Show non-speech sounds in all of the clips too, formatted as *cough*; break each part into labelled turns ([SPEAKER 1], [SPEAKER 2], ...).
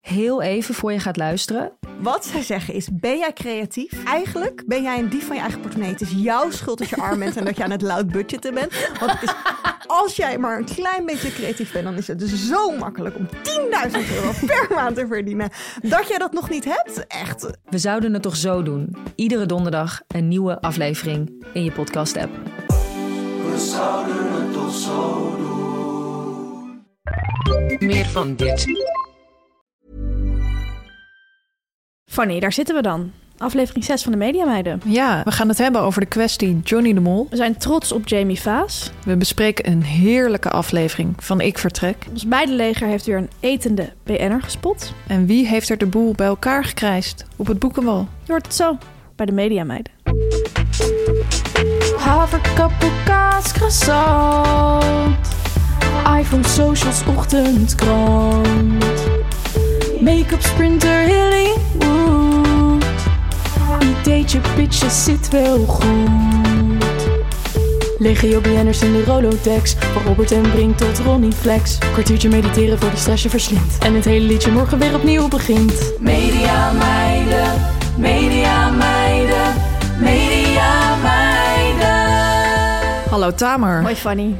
[SPEAKER 1] Heel even voor je gaat luisteren.
[SPEAKER 2] Wat zij zeggen is: ben jij creatief? Eigenlijk ben jij een dief van je eigen portemonnee. Het is jouw schuld dat je arm bent en dat je aan het loud budgetten bent. Want het is, als jij maar een klein beetje creatief bent, dan is het dus zo makkelijk om 10.000 euro per maand te verdienen. Dat jij dat nog niet hebt, echt.
[SPEAKER 1] We zouden het toch zo doen. Iedere donderdag een nieuwe aflevering in je podcast app.
[SPEAKER 3] We zouden het toch zo doen. Meer van dit.
[SPEAKER 4] Fanny, daar zitten we dan. Aflevering 6 van de Mediameiden.
[SPEAKER 5] Ja, we gaan het hebben over de kwestie Johnny de Mol.
[SPEAKER 4] We zijn trots op Jamie Vaas.
[SPEAKER 5] We bespreken een heerlijke aflevering van Ik Vertrek.
[SPEAKER 4] Ons beide leger heeft weer een etende BN'er gespot.
[SPEAKER 5] En wie heeft er de boel bij elkaar gekrijsd op het boekenwal?
[SPEAKER 4] Je hoort het zo bij de Mediameiden.
[SPEAKER 6] Haverkappel, kaas, croissant. iPhone, socials, ochtendkrant. Make-up, sprinter, Hollywood. Ideetje, pitje, zit wel goed. Legio BN'ers in de Rolodex. Van Robert en Brink tot Ronnie Flex. Kwartiertje mediteren voor de stress je verslindt. En het hele liedje morgen weer opnieuw begint.
[SPEAKER 3] Media meiden, media meiden, media meiden.
[SPEAKER 5] Hallo Tamer.
[SPEAKER 4] Hoi Fanny.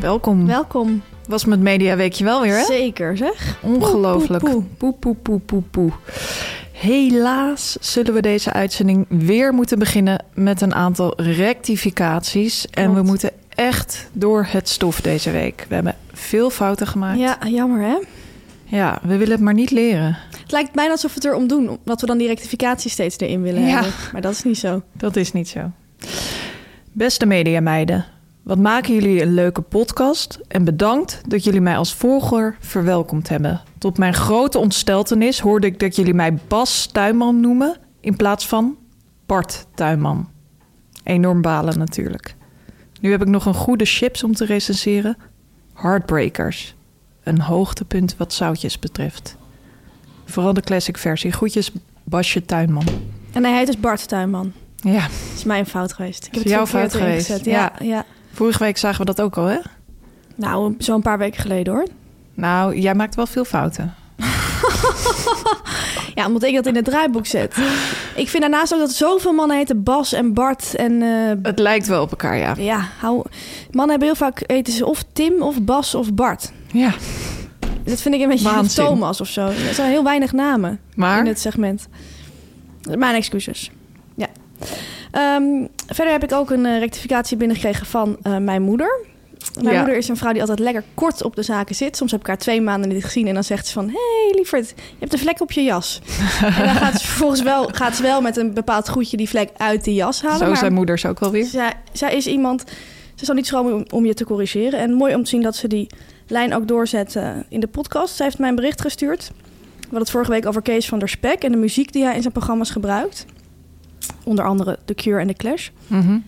[SPEAKER 5] Welkom.
[SPEAKER 4] Welkom.
[SPEAKER 5] Was met Media Weekje wel weer, hè?
[SPEAKER 4] Zeker zeg.
[SPEAKER 5] Ongelooflijk. Poe, poe, poe, poe, poe, poe. Helaas zullen we deze uitzending weer moeten beginnen met een aantal rectificaties. En
[SPEAKER 4] Klopt.
[SPEAKER 5] we moeten echt door het stof deze week. We hebben veel fouten gemaakt.
[SPEAKER 4] Ja, jammer hè.
[SPEAKER 5] Ja, we willen het maar niet leren.
[SPEAKER 4] Het lijkt bijna alsof we het erom doen, omdat we dan die rectificatie steeds erin willen
[SPEAKER 5] Ja.
[SPEAKER 4] hebben. Maar dat is niet zo.
[SPEAKER 5] Dat is niet zo. Beste mediameiden, wat maken jullie een leuke podcast en bedankt dat jullie mij als volger verwelkomd hebben. Tot mijn grote ontsteltenis hoorde ik dat jullie mij Bas Tuinman noemen in plaats van Bart Tuinman. Enorm balen natuurlijk. Nu heb ik nog een goede chips om te recenseren. Heartbreakers. Een hoogtepunt wat zoutjes betreft. Vooral de classic versie. Groetjes Basje Tuinman.
[SPEAKER 4] En hij heet dus Bart Tuinman.
[SPEAKER 5] Ja,
[SPEAKER 4] Dat is mijn fout geweest. Ik
[SPEAKER 5] Is
[SPEAKER 4] heb het
[SPEAKER 5] jouw
[SPEAKER 4] verkeerd
[SPEAKER 5] fout
[SPEAKER 4] erin
[SPEAKER 5] geweest,
[SPEAKER 4] gezet. Ja, ja.
[SPEAKER 5] Vorige week zagen we dat ook al, hè?
[SPEAKER 4] Nou, zo'n paar weken geleden hoor.
[SPEAKER 5] Nou, jij maakt wel veel fouten.
[SPEAKER 4] Ja, omdat ik dat in het draaiboek
[SPEAKER 5] *laughs*
[SPEAKER 4] zet. Ik vind daarnaast ook dat zoveel mannen heten Bas en Bart en... eh,
[SPEAKER 5] Het lijkt wel op elkaar, ja.
[SPEAKER 4] ja, hou... Mannen hebben heel vaak heten ze of Tim of Bas of Bart.
[SPEAKER 5] Ja,
[SPEAKER 4] Dat vind ik een beetje
[SPEAKER 5] Waanzin.
[SPEAKER 4] Thomas of zo. Er zijn heel weinig namen in
[SPEAKER 5] maar
[SPEAKER 4] het segment. Mijn excuses. Ja. Ehm, verder heb ik ook een eh, rectificatie binnengekregen van eh, mijn moeder. Mijn
[SPEAKER 5] Ja.
[SPEAKER 4] moeder is een vrouw die altijd lekker kort op de zaken zit. Soms heb ik haar twee maanden niet gezien en dan zegt ze van... Hé, hey, lieverd, je hebt een vlek op je jas.
[SPEAKER 5] *laughs*
[SPEAKER 4] en dan gaat ze vervolgens wel, gaat ze wel met een bepaald goedje die vlek uit de jas halen.
[SPEAKER 5] zo
[SPEAKER 4] maar
[SPEAKER 5] zijn moeders ook wel weer.
[SPEAKER 4] zij, zij is iemand, ze zal niet schromen om, om je te corrigeren. En mooi om te zien dat ze die lijn ook doorzet eh, in de podcast. Zij heeft mij een bericht gestuurd. We hadden het vorige week over Kees van der Spek en de muziek die hij in zijn programma's gebruikt. Onder andere The Cure en The Clash.
[SPEAKER 5] Mhm.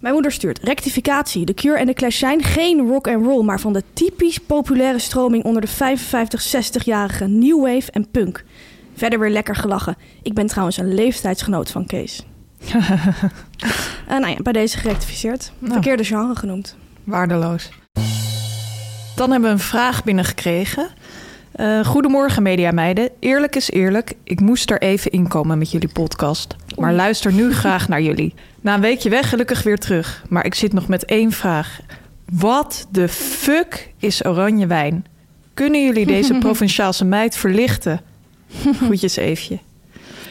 [SPEAKER 4] Mijn moeder stuurt rectificatie. De Cure en de Clash zijn geen rock and roll, maar van de typisch populaire stroming onder de 55-60-jarige new wave en punk. Verder weer lekker gelachen. Ik ben trouwens een leeftijdsgenoot van Kees. Eh, nou ja, bij deze gerectificeerd.
[SPEAKER 5] *laughs* Nou.
[SPEAKER 4] Verkeerde genre genoemd.
[SPEAKER 5] Waardeloos. Dan hebben we een vraag binnengekregen. Eh goedemorgen, mediameiden. Eerlijk is eerlijk. Ik moest er even inkomen met jullie podcast. Maar luister nu graag naar jullie. Na een weekje weg, gelukkig weer terug. Maar ik zit nog met één vraag. Wat de fuck is oranje wijn? Kunnen jullie deze provinciaalse meid verlichten? Groetjes, Eefje.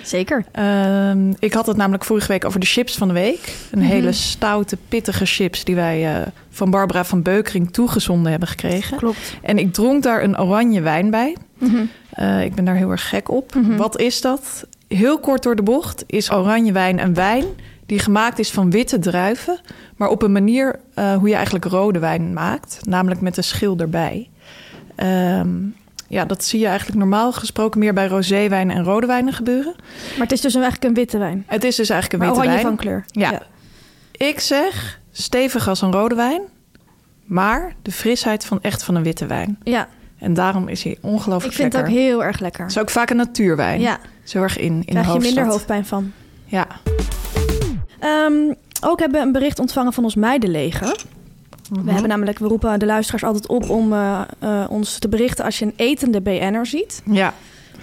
[SPEAKER 4] Zeker.
[SPEAKER 5] Ehm, ik had het namelijk vorige week over de chips van de week. Een hele stoute, pittige chips die wij eh, van Barbara van Beukering toegezonden hebben gekregen.
[SPEAKER 4] Klopt.
[SPEAKER 5] En ik dronk daar een oranje wijn bij.
[SPEAKER 4] Mhm.
[SPEAKER 5] Eh, ik ben daar heel erg gek op. Wat is dat? Heel kort door de bocht is oranje wijn een wijn die gemaakt is van witte druiven, maar op een manier eh, hoe je eigenlijk rode wijn maakt, namelijk met een schil erbij. Ehm, ja, dat zie je eigenlijk normaal gesproken meer bij roséwijn en rode wijnen gebeuren.
[SPEAKER 4] Maar het is dus eigenlijk een witte wijn.
[SPEAKER 5] Het is dus eigenlijk een
[SPEAKER 4] Maar
[SPEAKER 5] witte
[SPEAKER 4] oranje
[SPEAKER 5] wijn.
[SPEAKER 4] van kleur.
[SPEAKER 5] Ja. Ik zeg stevig als een rode wijn, maar de frisheid van echt van een witte wijn.
[SPEAKER 4] Ja,
[SPEAKER 5] En daarom is hij ongelooflijk
[SPEAKER 4] ik vind het
[SPEAKER 5] lekker.
[SPEAKER 4] ook heel erg lekker.
[SPEAKER 5] Het is ook vaak een natuurwijn.
[SPEAKER 4] Ja.
[SPEAKER 5] Zo erg in, in de
[SPEAKER 4] krijg je
[SPEAKER 5] hoofdstad.
[SPEAKER 4] minder hoofdpijn van.
[SPEAKER 5] Ja.
[SPEAKER 4] Ehm, ook hebben we een bericht ontvangen van ons meidenleger.
[SPEAKER 5] Mhm.
[SPEAKER 4] We hebben namelijk, we roepen de luisteraars altijd op om eh, eh, ons te berichten als je een etende BN'er ziet.
[SPEAKER 5] ja.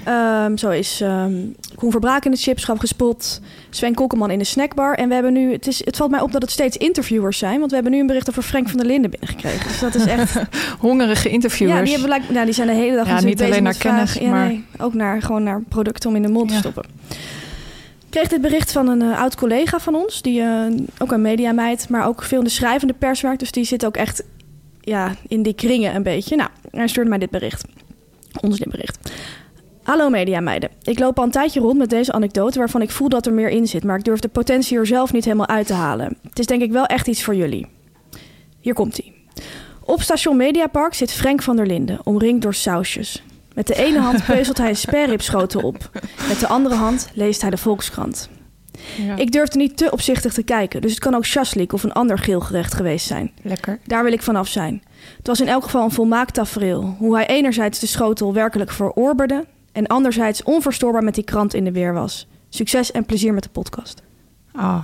[SPEAKER 4] Ehm, zo is ehm Koen Verbraak in de chipschap gespot, Sven Kokkelman in de snackbar. En we hebben nu, het, is, het valt mij op dat het steeds interviewers zijn, want we hebben nu een bericht over Frank van der Linden binnengekregen. Dus dat is echt...
[SPEAKER 5] Hongerige interviewers.
[SPEAKER 4] Ja, die, hebben, lijk- nou, die zijn de hele dag
[SPEAKER 5] Ja,
[SPEAKER 4] natuurlijk
[SPEAKER 5] niet alleen
[SPEAKER 4] bezig
[SPEAKER 5] naar
[SPEAKER 4] met
[SPEAKER 5] kennis,
[SPEAKER 4] vragen. Ja,
[SPEAKER 5] maar-
[SPEAKER 4] nee, ook naar, gewoon naar producten om in de mond
[SPEAKER 5] Ja.
[SPEAKER 4] te stoppen. Ik kreeg dit bericht van een eh, oud collega van ons, die eh, ook een mediameid, maar ook veel in de schrijvende pers werkt. Dus die zit ook echt ja, in die kringen een beetje. Nou, hij stuurde mij dit bericht. Ons dit bericht. Hallo mediameiden. Ik loop al een tijdje rond met deze anekdote waarvan ik voel dat er meer in zit, maar ik durf de potentie er zelf niet helemaal uit te halen. Het is denk ik wel echt iets voor jullie. Hier komt ie. Op station Mediapark zit Frank van der Linden, omringd door sausjes. Met de ene hand peuzelt hij een sperripschotel op. Met de andere hand leest hij de Volkskrant. Ik durfde niet te opzichtig te kijken, dus het kan ook shashlik of een ander geel gerecht geweest zijn.
[SPEAKER 5] Lekker.
[SPEAKER 4] Daar wil ik vanaf zijn. Het was in elk geval een volmaakt tafereel. Hoe hij enerzijds de schotel werkelijk verorberde... en anderzijds onverstoorbaar met die krant in de weer was. Succes en plezier met de podcast. *laughs*
[SPEAKER 5] Ah,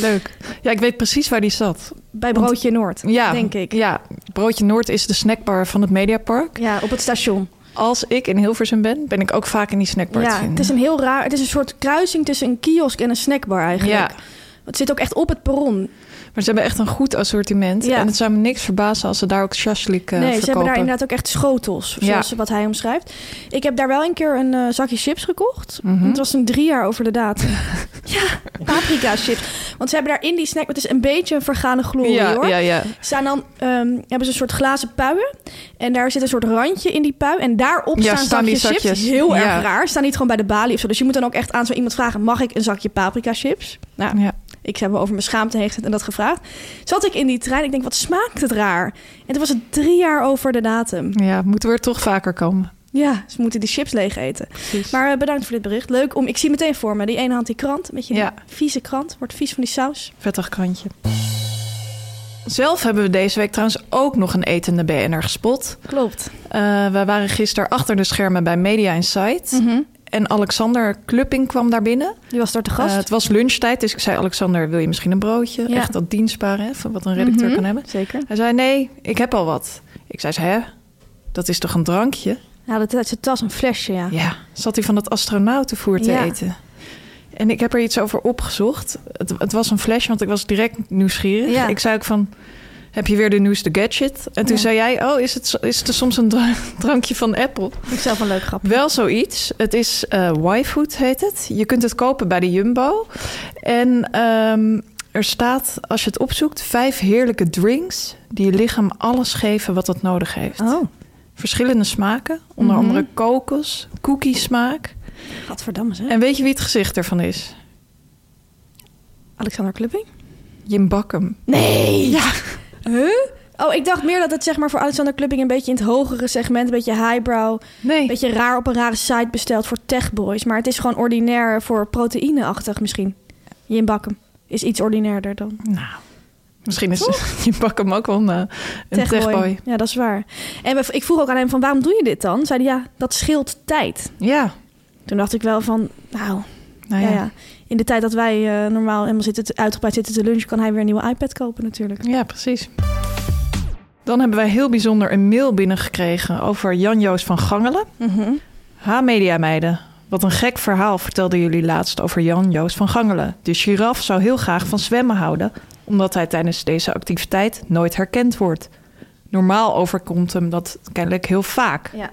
[SPEAKER 5] leuk. Ja, ik weet precies waar die zat.
[SPEAKER 4] Bij Broodje Noord,
[SPEAKER 5] Ja,
[SPEAKER 4] denk ik.
[SPEAKER 5] Ja, Broodje Noord is de snackbar van het Mediapark.
[SPEAKER 4] ja, op het station.
[SPEAKER 5] Als ik in Hilversum ben, ben ik ook vaak in die snackbar te
[SPEAKER 4] Ja,
[SPEAKER 5] vinden.
[SPEAKER 4] het is een heel raar. Het is een soort kruising tussen een kiosk en een snackbar eigenlijk.
[SPEAKER 5] Ja.
[SPEAKER 4] Want Het zit ook echt op het perron.
[SPEAKER 5] Maar ze hebben echt een goed assortiment.
[SPEAKER 4] Ja.
[SPEAKER 5] En het zou me niks verbazen als ze daar ook shashlik eh,
[SPEAKER 4] nee,
[SPEAKER 5] verkopen.
[SPEAKER 4] ze hebben daar inderdaad ook echt schotels, zoals wat hij omschrijft. Ik heb daar wel een keer een eh, zakje chips gekocht.
[SPEAKER 5] Mhm.
[SPEAKER 4] Het was een drie jaar over de
[SPEAKER 5] *laughs*
[SPEAKER 4] datum. ja, paprika chips. Want ze hebben daar in die snack, het is een beetje een vergane glorie hoor.
[SPEAKER 5] ja, ja, ja.
[SPEAKER 4] Staan dan, ehm, hebben ze een soort glazen puien. En daar zit een soort randje in die pui. En daarop
[SPEAKER 5] Ja,
[SPEAKER 4] staan,
[SPEAKER 5] staan die
[SPEAKER 4] zakjes chips.
[SPEAKER 5] zakjes.
[SPEAKER 4] Heel
[SPEAKER 5] Ja.
[SPEAKER 4] erg raar. Staan niet gewoon bij de balie of zo. Dus je moet dan ook echt aan zo iemand vragen... mag ik een zakje paprika chips? Nou,
[SPEAKER 5] Ja.
[SPEAKER 4] ik heb me over mijn schaamte heen gezet en dat gevraagd. Zat ik in die trein. Ik denk, wat smaakt het raar? En toen was het drie jaar over de datum.
[SPEAKER 5] Ja, moeten we er toch vaker komen.
[SPEAKER 4] Ja, ze moeten die chips leeg eten.
[SPEAKER 5] Precies.
[SPEAKER 4] Maar eh, bedankt voor dit bericht. Leuk om... Ik zie meteen voor me die ene hand die krant. Een beetje die
[SPEAKER 5] Ja.
[SPEAKER 4] vieze krant. Wordt vies van die saus.
[SPEAKER 5] Vettig krantje. Zelf hebben we deze week trouwens ook nog een etende BNR gespot.
[SPEAKER 4] Klopt.
[SPEAKER 5] Eh, wij waren gisteren achter de schermen bij Media Insight.
[SPEAKER 4] Mhm.
[SPEAKER 5] En Alexander Klupping kwam daar binnen.
[SPEAKER 4] Die was daar te gast.
[SPEAKER 5] Eh, het was lunchtijd, dus ik zei... Alexander, wil je misschien een broodje?
[SPEAKER 4] Ja. Mhm.
[SPEAKER 5] Echt dat dienstbare, hè, van wat een redacteur kan hebben.
[SPEAKER 4] Zeker.
[SPEAKER 5] Hij zei, nee, ik heb al wat. Ik zei, hè? Dat is toch een drankje?
[SPEAKER 4] Hij had het uit zijn tas een flesje, ja.
[SPEAKER 5] Ja, zat hij van dat astronautenvoer te
[SPEAKER 4] Ja.
[SPEAKER 5] eten. En ik heb er iets over opgezocht. Het, het was een flash, want ik was direct nieuwsgierig.
[SPEAKER 4] Ja.
[SPEAKER 5] Ik zei ook van, heb je weer de nieuwste gadget? En toen
[SPEAKER 4] Ja.
[SPEAKER 5] zei jij, oh, is het, zo- is het soms een dra- drankje van Apple?
[SPEAKER 4] Vind ik zelf een leuk grap.
[SPEAKER 5] Wel zoiets. Het is eh Y-Food heet het. Je kunt het kopen bij de Jumbo. En ehm, er staat, als je het opzoekt, vijf heerlijke drinks... die je lichaam alles geven wat het nodig heeft.
[SPEAKER 4] Oh.
[SPEAKER 5] Verschillende smaken. Onder
[SPEAKER 4] Mhm.
[SPEAKER 5] andere kokos, cookie smaak.
[SPEAKER 4] Gadverdamme zeg.
[SPEAKER 5] En weet je wie het gezicht ervan is?
[SPEAKER 4] Alexander Klupping?
[SPEAKER 5] Jim Bakkum.
[SPEAKER 4] Nee! Ja. Huh? Oh, ik dacht meer dat het zeg maar voor Alexander Klupping een beetje in het hogere segment, een beetje highbrow,
[SPEAKER 5] Nee.
[SPEAKER 4] een beetje raar op een rare site besteld voor techboys. Maar het is gewoon ordinair voor proteïneachtig misschien. Jim Bakkum is iets ordinairder dan
[SPEAKER 5] Nou, misschien is *laughs* Jim Bakkum ook wel een, eh, een
[SPEAKER 4] techboy.
[SPEAKER 5] techboy.
[SPEAKER 4] Ja, dat is waar. En we- ik vroeg ook aan hem van waarom doe je dit dan? Zei hij ja, dat scheelt tijd.
[SPEAKER 5] Ja.
[SPEAKER 4] Toen dacht ik wel van, nou,
[SPEAKER 5] Nou
[SPEAKER 4] ja,
[SPEAKER 5] ja.
[SPEAKER 4] ja. in de tijd dat wij eh, normaal helemaal zitten, te- uitgebreid zitten te lunchen, kan hij weer een nieuwe iPad kopen natuurlijk.
[SPEAKER 5] Ja, precies. Dan hebben wij heel bijzonder een mail binnengekregen over Jan-Joos van Gangelen. Ha, mediameiden. Wat een gek verhaal vertelden jullie laatst over Jan-Joos van Gangelen. De giraf zou heel graag van zwemmen houden, omdat hij tijdens deze activiteit nooit herkend wordt. Normaal overkomt hem dat kennelijk heel vaak.
[SPEAKER 4] Ja.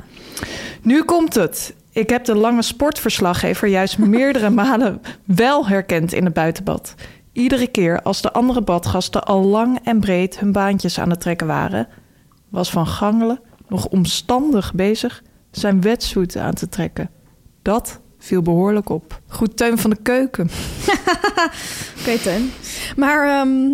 [SPEAKER 5] Nu komt het. Ik heb de lange sportverslaggever *laughs* juist meerdere malen wel herkend in het buitenbad. Iedere keer als de andere badgasten al lang en breed hun baantjes aan het trekken waren, was Van Gangelen nog omstandig bezig zijn wetsuit aan te trekken. Dat viel behoorlijk op. Goed teun van de keuken.
[SPEAKER 4] Oké, Teun. Maar ehm,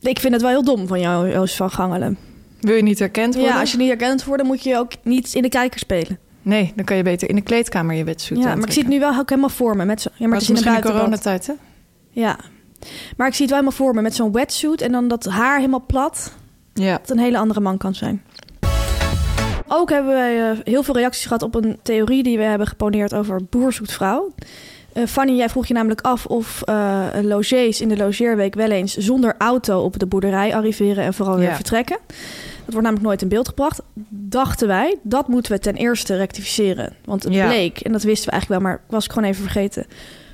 [SPEAKER 4] ik vind het wel heel dom van jou, Joost van Gangelen.
[SPEAKER 5] Wil je niet herkend worden?
[SPEAKER 4] Ja, als je niet herkend wordt, dan moet je ook niet in de kijker spelen.
[SPEAKER 5] Nee, dan kan je beter in de kleedkamer je wetsuit
[SPEAKER 4] Ja, maar ik
[SPEAKER 5] aantrekken.
[SPEAKER 4] zie het nu wel ook helemaal voor me. Met zo... Ja, maar
[SPEAKER 5] Was
[SPEAKER 4] het is in een
[SPEAKER 5] misschien de
[SPEAKER 4] buitenbad.
[SPEAKER 5] coronatijd, hè?
[SPEAKER 4] Ja. Maar ik zie het wel helemaal voor me met zo'n wetsuit en dan dat haar helemaal plat.
[SPEAKER 5] Ja.
[SPEAKER 4] Dat het een hele andere man kan zijn. Ook hebben wij eh, heel veel reacties gehad op een theorie die we hebben geponeerd over boer zoekt vrouw. Eh, Fanny, jij vroeg je namelijk af of eh logees in de logeerweek wel eens zonder auto op de boerderij arriveren en vooral weer
[SPEAKER 5] Ja.
[SPEAKER 4] vertrekken. Dat wordt namelijk nooit in beeld gebracht. Dachten wij, dat moeten we ten eerste rectificeren. Want het
[SPEAKER 5] Ja.
[SPEAKER 4] bleek, en dat wisten we eigenlijk wel, maar was ik gewoon even vergeten.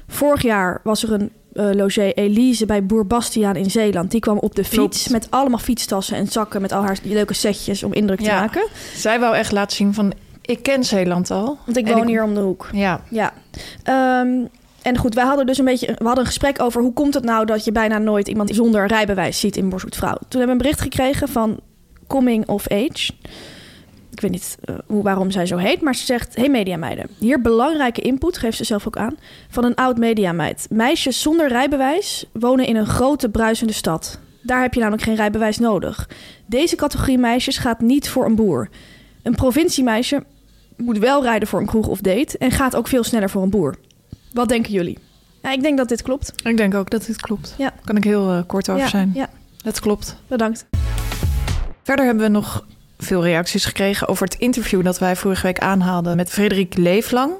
[SPEAKER 4] Vorig jaar was er een eh logé Elise bij Boer Bastiaan in Zeeland. Die kwam op de fiets
[SPEAKER 5] Klopt.
[SPEAKER 4] met allemaal fietstassen en zakken met al haar leuke setjes om indruk te
[SPEAKER 5] Ja.
[SPEAKER 4] maken.
[SPEAKER 5] Zij wou echt laten zien van, ik ken Zeeland al.
[SPEAKER 4] Want ik
[SPEAKER 5] En
[SPEAKER 4] woon hier om de hoek.
[SPEAKER 5] Ja,
[SPEAKER 4] Ja. Ehm, en goed, wij hadden dus een beetje we hadden een gesprek over hoe komt het nou dat je bijna nooit iemand zonder rijbewijs ziet in Boerzoetvrouw. Toen hebben we een bericht gekregen van Coming of Age. Ik weet niet eh, hoe, waarom zij zo heet, maar ze zegt: Hey mediameiden, hier belangrijke input, geeft ze zelf ook aan, van een oud mediameid. Meisjes zonder rijbewijs wonen in een grote bruisende stad. Daar heb je namelijk geen rijbewijs nodig. Deze categorie meisjes gaat niet voor een boer. Een provinciemeisje moet wel rijden voor een kroeg of date en gaat ook veel sneller voor een boer. Wat denken jullie? Ja, ik denk dat dit klopt.
[SPEAKER 5] ik denk ook dat dit klopt.
[SPEAKER 4] Ja.
[SPEAKER 5] Kan ik heel eh, kort over
[SPEAKER 4] ja,
[SPEAKER 5] zijn.
[SPEAKER 4] ja,
[SPEAKER 5] Dat klopt.
[SPEAKER 4] bedankt.
[SPEAKER 5] Verder hebben we nog veel reacties gekregen over het interview dat wij vorige week aanhaalden met Frederik Leeflang.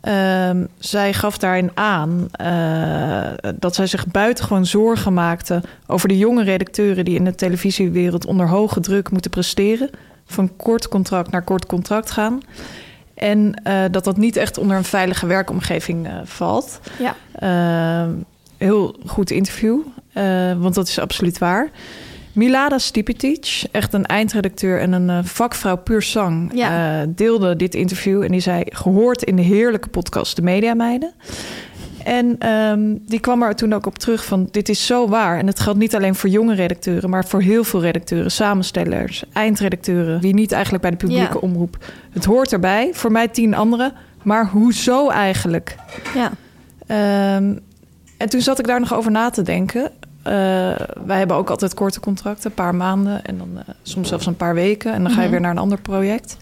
[SPEAKER 5] Ehm, zij gaf daarin aan eh, dat zij zich buitengewoon zorgen maakte over de jonge redacteuren die in de televisiewereld onder hoge druk moeten presteren. Van kort contract naar kort contract gaan. En eh, dat dat niet echt onder een veilige werkomgeving eh, valt.
[SPEAKER 4] Ja.
[SPEAKER 5] Ehm, heel goed interview, eh, want dat is absoluut waar. Milada Stipitic, echt een eindredacteur en een eh, vakvrouw puur sang,
[SPEAKER 4] Ja.
[SPEAKER 5] eh, deelde dit interview en die zei gehoord in de heerlijke podcast De Media Meiden. En ehm, die kwam er toen ook op terug van dit is zo waar. En het geldt niet alleen voor jonge redacteuren, maar voor heel veel redacteuren, samenstellers, eindredacteuren, wie niet eigenlijk bij de publieke
[SPEAKER 4] Ja.
[SPEAKER 5] omroep. Het hoort erbij, voor mij tien anderen, maar hoezo eigenlijk?
[SPEAKER 4] Ja,
[SPEAKER 5] Ehm, en toen zat ik daar nog over na te denken. Eh, wij hebben ook altijd korte contracten, een paar maanden en dan eh, soms zelfs een paar weken. En dan ga je weer naar een ander project.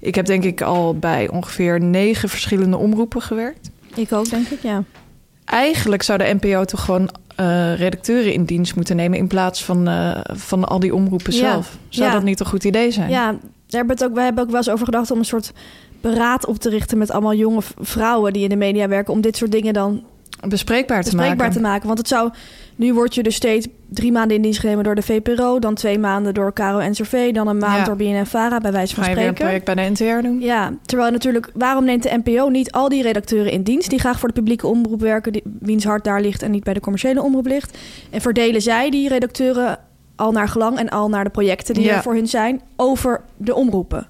[SPEAKER 5] Ik heb denk ik al bij ongeveer negen verschillende omroepen gewerkt.
[SPEAKER 4] ik ook, denk ik. Ja.
[SPEAKER 5] Eigenlijk zou de NPO toch gewoon eh, redacteuren in dienst moeten nemen in plaats van, eh, van al die omroepen
[SPEAKER 4] Ja.
[SPEAKER 5] zelf. Zou
[SPEAKER 4] Ja.
[SPEAKER 5] dat niet een goed idee zijn?
[SPEAKER 4] ja, daar hebben we, het ook, wij hebben ook wel eens over gedacht om een soort beraad op te richten met allemaal jonge v- vrouwen die in de media werken. Om dit soort dingen dan
[SPEAKER 5] Bespreekbaar te
[SPEAKER 4] bespreekbaar
[SPEAKER 5] maken.
[SPEAKER 4] te maken. Want het zou, nu word je dus steeds drie maanden in dienst genomen door de VPRO, dan twee maanden door Caro en Survey, dan een maand
[SPEAKER 5] Ja.
[SPEAKER 4] door BNNVARA, bij wijze van
[SPEAKER 5] Ga je weer een
[SPEAKER 4] spreken.
[SPEAKER 5] project bij de NTR doen?
[SPEAKER 4] Ja, terwijl natuurlijk, waarom neemt de NPO niet al die redacteuren in dienst die graag voor de publieke omroep werken, die, wiens hart daar ligt en niet bij de commerciële omroep ligt? En verdelen zij die redacteuren al naar gelang en al naar de projecten die
[SPEAKER 5] Ja.
[SPEAKER 4] er voor hun zijn over de omroepen?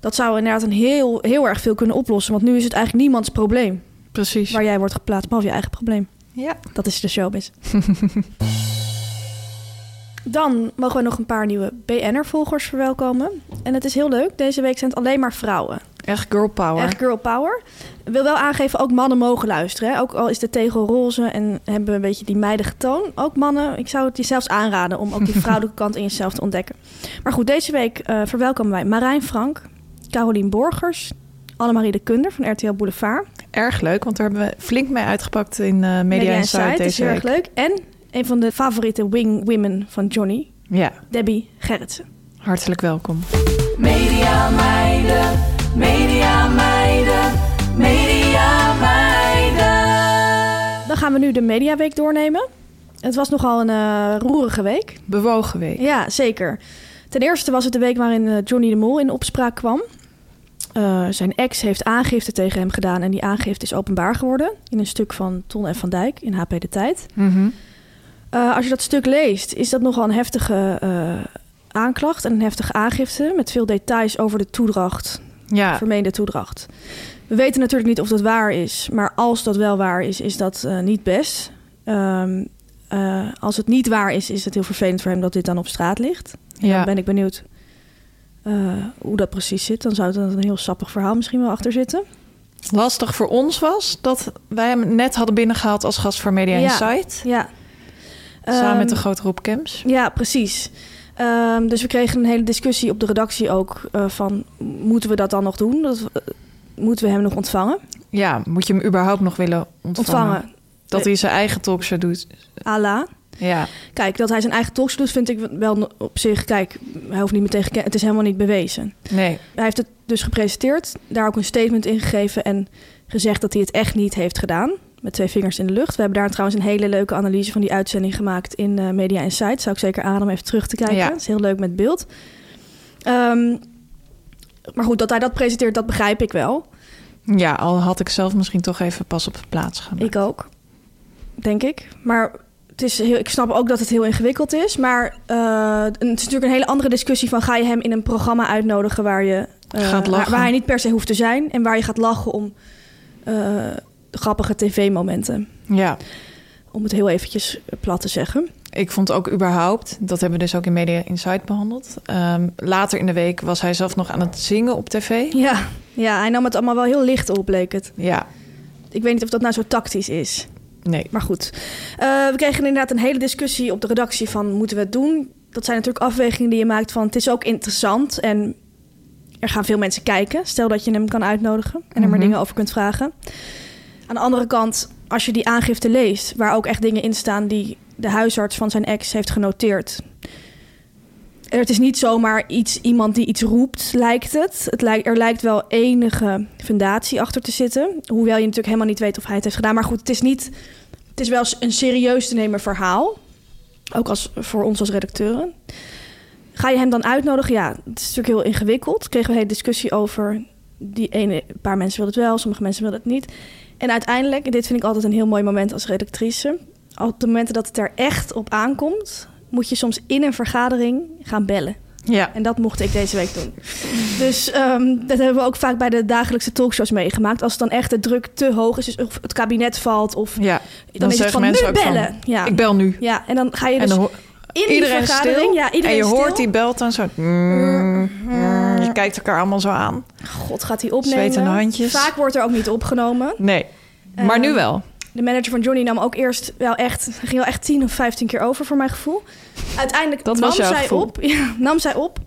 [SPEAKER 4] Dat zou inderdaad een heel, heel erg veel kunnen oplossen, want nu is het eigenlijk niemands probleem
[SPEAKER 5] Precies.
[SPEAKER 4] waar jij wordt geplaatst, behalve je eigen probleem.
[SPEAKER 5] Ja.
[SPEAKER 4] Dat is de
[SPEAKER 5] *laughs*
[SPEAKER 4] showbiz. Dan mogen we nog een paar nieuwe BN'er-volgers verwelkomen. En het is heel leuk, deze week zijn het alleen maar vrouwen.
[SPEAKER 5] Echt girl power.
[SPEAKER 4] Echt girl power. Ik wil wel aangeven, ook mannen mogen luisteren. Hè? Ook al is de tegel roze en hebben we een beetje die meidige toon. Ook mannen, ik zou het je zelfs aanraden om ook die
[SPEAKER 5] *laughs*
[SPEAKER 4] vrouwelijke kant in jezelf te ontdekken. Maar goed, deze week eh, verwelkomen wij Marijn Frank, Carolien Borgers, Annemarie de Kunder van RTL Boulevard.
[SPEAKER 5] Erg leuk, want daar hebben we flink mee uitgepakt in eh, Media, Insight,
[SPEAKER 4] Insight, is
[SPEAKER 5] deze
[SPEAKER 4] heel
[SPEAKER 5] week.
[SPEAKER 4] erg leuk. En een van de favoriete wing women van Johnny,
[SPEAKER 5] Ja,
[SPEAKER 4] Debbie Gerritsen.
[SPEAKER 5] hartelijk welkom.
[SPEAKER 3] Media meiden, media meiden, media meiden.
[SPEAKER 4] Dan gaan we nu de Mediaweek doornemen. Het was nogal een eh, roerige week.
[SPEAKER 5] Bewogen week.
[SPEAKER 4] Ja, zeker. Ten eerste was het de week waarin eh, Johnny de Mol in opspraak kwam. Eh, zijn ex heeft aangifte tegen hem gedaan en die aangifte is openbaar geworden in een stuk van Ton en Van Dijk in HP de Tijd.
[SPEAKER 5] Mhm.
[SPEAKER 4] Eh, als je dat stuk leest, is dat nogal een heftige eh, aanklacht en een heftige aangifte met veel details over de toedracht,
[SPEAKER 5] Ja,
[SPEAKER 4] vermeende toedracht. We weten natuurlijk niet of dat waar is, maar als dat wel waar is, is dat eh, niet best. Ehm, eh, als het niet waar is, is het heel vervelend voor hem dat dit dan op straat ligt. Dan
[SPEAKER 5] ja.
[SPEAKER 4] ben ik benieuwd eh, hoe dat precies zit. Dan zou er een heel sappig verhaal misschien wel achter zitten.
[SPEAKER 5] lastig voor ons was dat wij hem net hadden binnengehaald als gast voor Media
[SPEAKER 4] Ja.
[SPEAKER 5] Insight.
[SPEAKER 4] Ja.
[SPEAKER 5] Samen
[SPEAKER 4] Ehm,
[SPEAKER 5] met de grote Rob Kemps.
[SPEAKER 4] Ja, precies. Ehm, dus we kregen een hele discussie op de redactie ook eh, van... moeten we dat dan nog doen? Dat, eh, moeten we hem nog ontvangen?
[SPEAKER 5] Ja, moet je hem überhaupt nog willen ontvangen?
[SPEAKER 4] Ontvangen.
[SPEAKER 5] Dat hij zijn eigen talkshow doet.
[SPEAKER 4] Ala.
[SPEAKER 5] Ja.
[SPEAKER 4] Kijk, dat hij zijn eigen talkshow doet, vind ik wel op zich. Kijk, hij hoeft niet meteen geken- Het is helemaal niet bewezen.
[SPEAKER 5] Nee.
[SPEAKER 4] Hij heeft het dus gepresenteerd, daar ook een statement in gegeven en gezegd dat hij het echt niet heeft gedaan. Met twee vingers in de lucht. We hebben daar trouwens een hele leuke analyse van die uitzending gemaakt in eh, Media Insight. Zou ik zeker aanraden om even terug te kijken.
[SPEAKER 5] Ja.
[SPEAKER 4] Dat is heel leuk met beeld. Ehm, maar goed, dat hij dat presenteert, dat begrijp ik wel.
[SPEAKER 5] Ja, al had ik zelf misschien toch even pas op de plaats gaan.
[SPEAKER 4] Ik ook, denk ik. Maar het is heel, ik snap ook dat het heel ingewikkeld is. Maar eh, het is natuurlijk een hele andere discussie van... ga je hem in een programma uitnodigen waar, je, eh,
[SPEAKER 5] Gaat lachen.
[SPEAKER 4] waar, waar hij niet per se hoeft te zijn... en waar je gaat lachen om eh, grappige tv-momenten.
[SPEAKER 5] Ja.
[SPEAKER 4] Om het heel eventjes plat te zeggen.
[SPEAKER 5] Ik vond ook überhaupt, dat hebben we dus ook in Media Insight behandeld. ehm, later in de week was hij zelf nog aan het zingen op tv.
[SPEAKER 4] Ja, ja, hij nam het allemaal wel heel licht op, bleek het.
[SPEAKER 5] Ja,
[SPEAKER 4] Ik weet niet of dat nou zo tactisch is.
[SPEAKER 5] nee.
[SPEAKER 4] Maar goed, Eh, we kregen inderdaad een hele discussie op de redactie van moeten we het doen? Dat zijn natuurlijk afwegingen die je maakt van het is ook interessant en er gaan veel mensen kijken. Stel dat je hem kan uitnodigen en er maar dingen over kunt vragen. Aan de andere kant, als je die aangifte leest, waar ook echt dingen in staan die de huisarts van zijn ex heeft genoteerd. En Het is niet zomaar iets, iemand die iets roept, lijkt het. het lijkt, er lijkt wel enige fundatie achter te zitten. Hoewel je natuurlijk helemaal niet weet of hij het heeft gedaan. Maar goed, het is niet het is wel s- een serieus te nemen verhaal. Ook als, voor ons als redacteuren. Ga je hem dan uitnodigen? Ja, het is natuurlijk heel ingewikkeld. Kregen we een hele discussie over. Die ene, een paar mensen wilden het wel, sommige mensen wilden het niet. En uiteindelijk, en dit vind ik altijd een heel mooi moment als redactrice. Op de momenten dat het er echt op aankomt, moet je soms in een vergadering gaan bellen.
[SPEAKER 5] Ja.
[SPEAKER 4] En dat mocht ik deze week doen. Dus ehm, dat hebben we ook vaak bij de dagelijkse talkshows meegemaakt. Als het dan echt de druk te hoog is, dus of het kabinet valt of
[SPEAKER 5] ja.
[SPEAKER 4] dan, is het
[SPEAKER 5] zeggen
[SPEAKER 4] van nu
[SPEAKER 5] mensen ook van,
[SPEAKER 4] bellen. ja.
[SPEAKER 5] Ik bel nu.
[SPEAKER 4] ja, en dan ga je
[SPEAKER 5] en
[SPEAKER 4] dus
[SPEAKER 5] dan ho-
[SPEAKER 4] in die
[SPEAKER 5] iedereen is
[SPEAKER 4] vergadering...
[SPEAKER 5] stil.
[SPEAKER 4] ja, iedereen
[SPEAKER 5] en je
[SPEAKER 4] is stil.
[SPEAKER 5] hoort die belt dan zo. mm, mm, je kijkt elkaar allemaal zo aan.
[SPEAKER 4] God, gaat hij opnemen.
[SPEAKER 5] Zweet aan de handjes.
[SPEAKER 4] Vaak wordt er ook niet opgenomen.
[SPEAKER 5] Nee. Maar
[SPEAKER 4] Ehm,
[SPEAKER 5] nu wel.
[SPEAKER 4] De manager van Johnny nam ook eerst wel echt... hij ging wel echt 10 of 15 keer over, voor mijn gevoel. Uiteindelijk
[SPEAKER 5] Dat
[SPEAKER 4] nam,
[SPEAKER 5] was jouw
[SPEAKER 4] zij
[SPEAKER 5] gevoel.
[SPEAKER 4] op, *laughs* ja, nam zij op.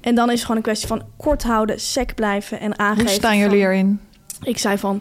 [SPEAKER 4] En dan is het gewoon een kwestie van kort houden, sec blijven en aangeven.
[SPEAKER 5] Hoe staan
[SPEAKER 4] van-
[SPEAKER 5] jullie erin?
[SPEAKER 4] Ik zei van,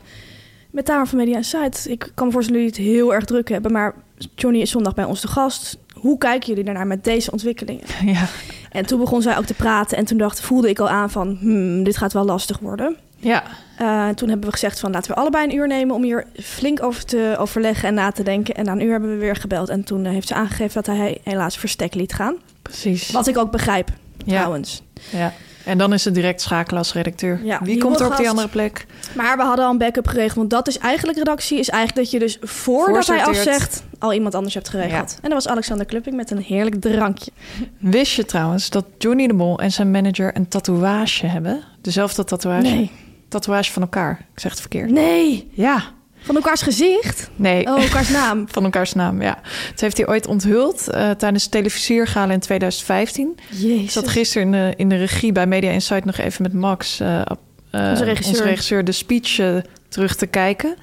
[SPEAKER 4] met Tamar van Media Insight, ik kan me voorstellen dat jullie het heel erg druk hebben... maar Johnny is zondag bij ons te gast. Hoe kijken jullie daarnaar met deze ontwikkelingen?
[SPEAKER 5] *laughs* Ja.
[SPEAKER 4] En toen begon zij ook te praten. En toen dacht, voelde ik al aan van, hmm, dit gaat wel lastig worden.
[SPEAKER 5] Ja.
[SPEAKER 4] Eh, toen hebben we gezegd van, laten we allebei een uur nemen... om hier flink over te overleggen en na te denken. En na een uur hebben we weer gebeld. En toen eh, heeft ze aangegeven dat hij helaas verstek liet gaan.
[SPEAKER 5] Precies.
[SPEAKER 4] Wat ik ook begrijp,
[SPEAKER 5] ja.
[SPEAKER 4] trouwens.
[SPEAKER 5] ja. En dan is het direct schakelen als redacteur.
[SPEAKER 4] Ja,
[SPEAKER 5] Wie
[SPEAKER 4] die
[SPEAKER 5] komt er op die
[SPEAKER 4] gast.
[SPEAKER 5] andere plek?
[SPEAKER 4] Maar we hadden al een backup geregeld. Want dat is eigenlijk redactie. Is eigenlijk dat je dus voordat hij
[SPEAKER 5] Voorsorteert.
[SPEAKER 4] afzegt... al iemand anders hebt geregeld. En dat was Alexander Klupping met een heerlijk drankje.
[SPEAKER 5] Wist je trouwens dat Johnny de Mol en zijn manager een tatoeage hebben? Dezelfde tatoeage?
[SPEAKER 4] Nee.
[SPEAKER 5] Tatoeage van elkaar. Ik zeg het verkeerd.
[SPEAKER 4] Nee,
[SPEAKER 5] Ja.
[SPEAKER 4] van elkaars gezicht.
[SPEAKER 5] Nee.
[SPEAKER 4] Oh, elkaars naam.
[SPEAKER 5] *laughs* Van elkaars naam, ja. Het heeft hij ooit onthuld eh, tijdens televisiergalen in 2015. Ik
[SPEAKER 4] Jezus.
[SPEAKER 5] zat gisteren in de, in de regie bij Media Insight nog even met Max, eh, op- eh,
[SPEAKER 4] Onze regisseur.
[SPEAKER 5] de speech eh, terug te kijken.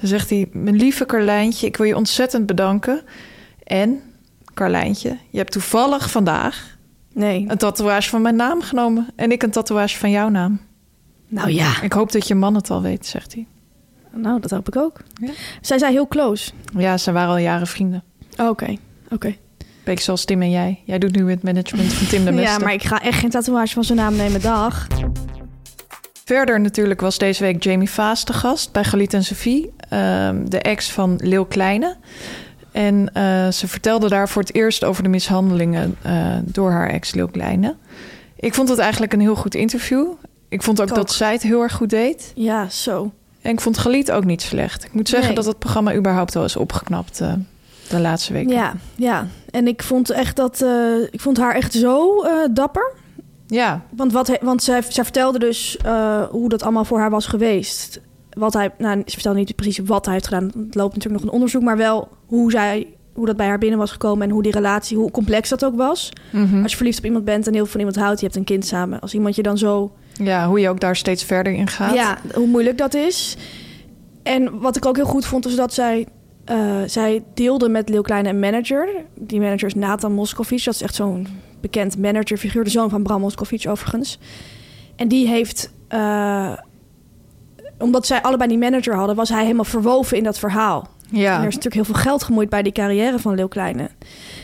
[SPEAKER 5] Dan zegt hij, mijn lieve Carlijntje, ik wil je ontzettend bedanken. En, Carlijntje, je hebt toevallig vandaag
[SPEAKER 4] Nee.
[SPEAKER 5] een tatoeage van mijn naam genomen. En ik een tatoeage van jouw naam.
[SPEAKER 4] Nou ja.
[SPEAKER 5] Ik hoop dat je man het al weet, zegt hij.
[SPEAKER 4] Nou, dat hoop ik ook.
[SPEAKER 5] Ja.
[SPEAKER 4] Zij zijn heel close.
[SPEAKER 5] Ja, ze waren al jaren vrienden.
[SPEAKER 4] Oh, Oké, oké.
[SPEAKER 5] Beetje zoals Tim en jij. Jij doet nu het management van Tim de
[SPEAKER 4] *laughs*
[SPEAKER 5] Mester.
[SPEAKER 4] Ja, maar ik ga echt geen tatoeage van zijn naam nemen. Dag.
[SPEAKER 5] Verder natuurlijk was deze week Jamie Vaas te gast bij Galit en Sophie, ehm, de ex van Leeuw Kleine. En eh, ze vertelde daar voor het eerst over de mishandelingen eh, door haar ex Leeuw Kleine. Ik vond het eigenlijk een heel goed interview. Ik vond ook,
[SPEAKER 4] Ik ook.
[SPEAKER 5] dat zij het heel erg goed deed.
[SPEAKER 4] Ja, zo.
[SPEAKER 5] En ik vond Galit ook niet slecht. Ik moet zeggen
[SPEAKER 4] Nee.
[SPEAKER 5] dat het programma überhaupt wel is opgeknapt eh, de laatste weken.
[SPEAKER 4] Ja, ja. En ik vond echt dat... eh, ik vond haar echt zo eh, dapper.
[SPEAKER 5] ja,
[SPEAKER 4] Want, wat, hij- want zij, zij vertelde dus eh, hoe dat allemaal voor haar was geweest. Wat hij... Nou, ze vertelde niet precies wat hij heeft gedaan. Het loopt natuurlijk nog een onderzoek. Maar wel hoe zij... Hoe dat bij haar binnen was gekomen en hoe die relatie, hoe complex dat ook was. Als je verliefd op iemand bent en heel veel van iemand houdt, je hebt een kind samen. Als iemand je dan zo
[SPEAKER 5] ja, hoe je ook daar steeds verder in gaat.
[SPEAKER 4] Ja, hoe moeilijk dat is. En wat ik ook heel goed vond, is dat zij, eh, zij deelde met Leeuw Kleine een manager. Die manager is Nathan Moskovits. Dat is echt zo'n bekend managerfiguur. De zoon van Bram Moskovits overigens. En die heeft... eh, omdat zij allebei die manager hadden, was hij helemaal verwoven in dat verhaal. En
[SPEAKER 5] Ja.
[SPEAKER 4] er is natuurlijk heel veel geld gemoeid bij die carrière van Leeuw Kleine.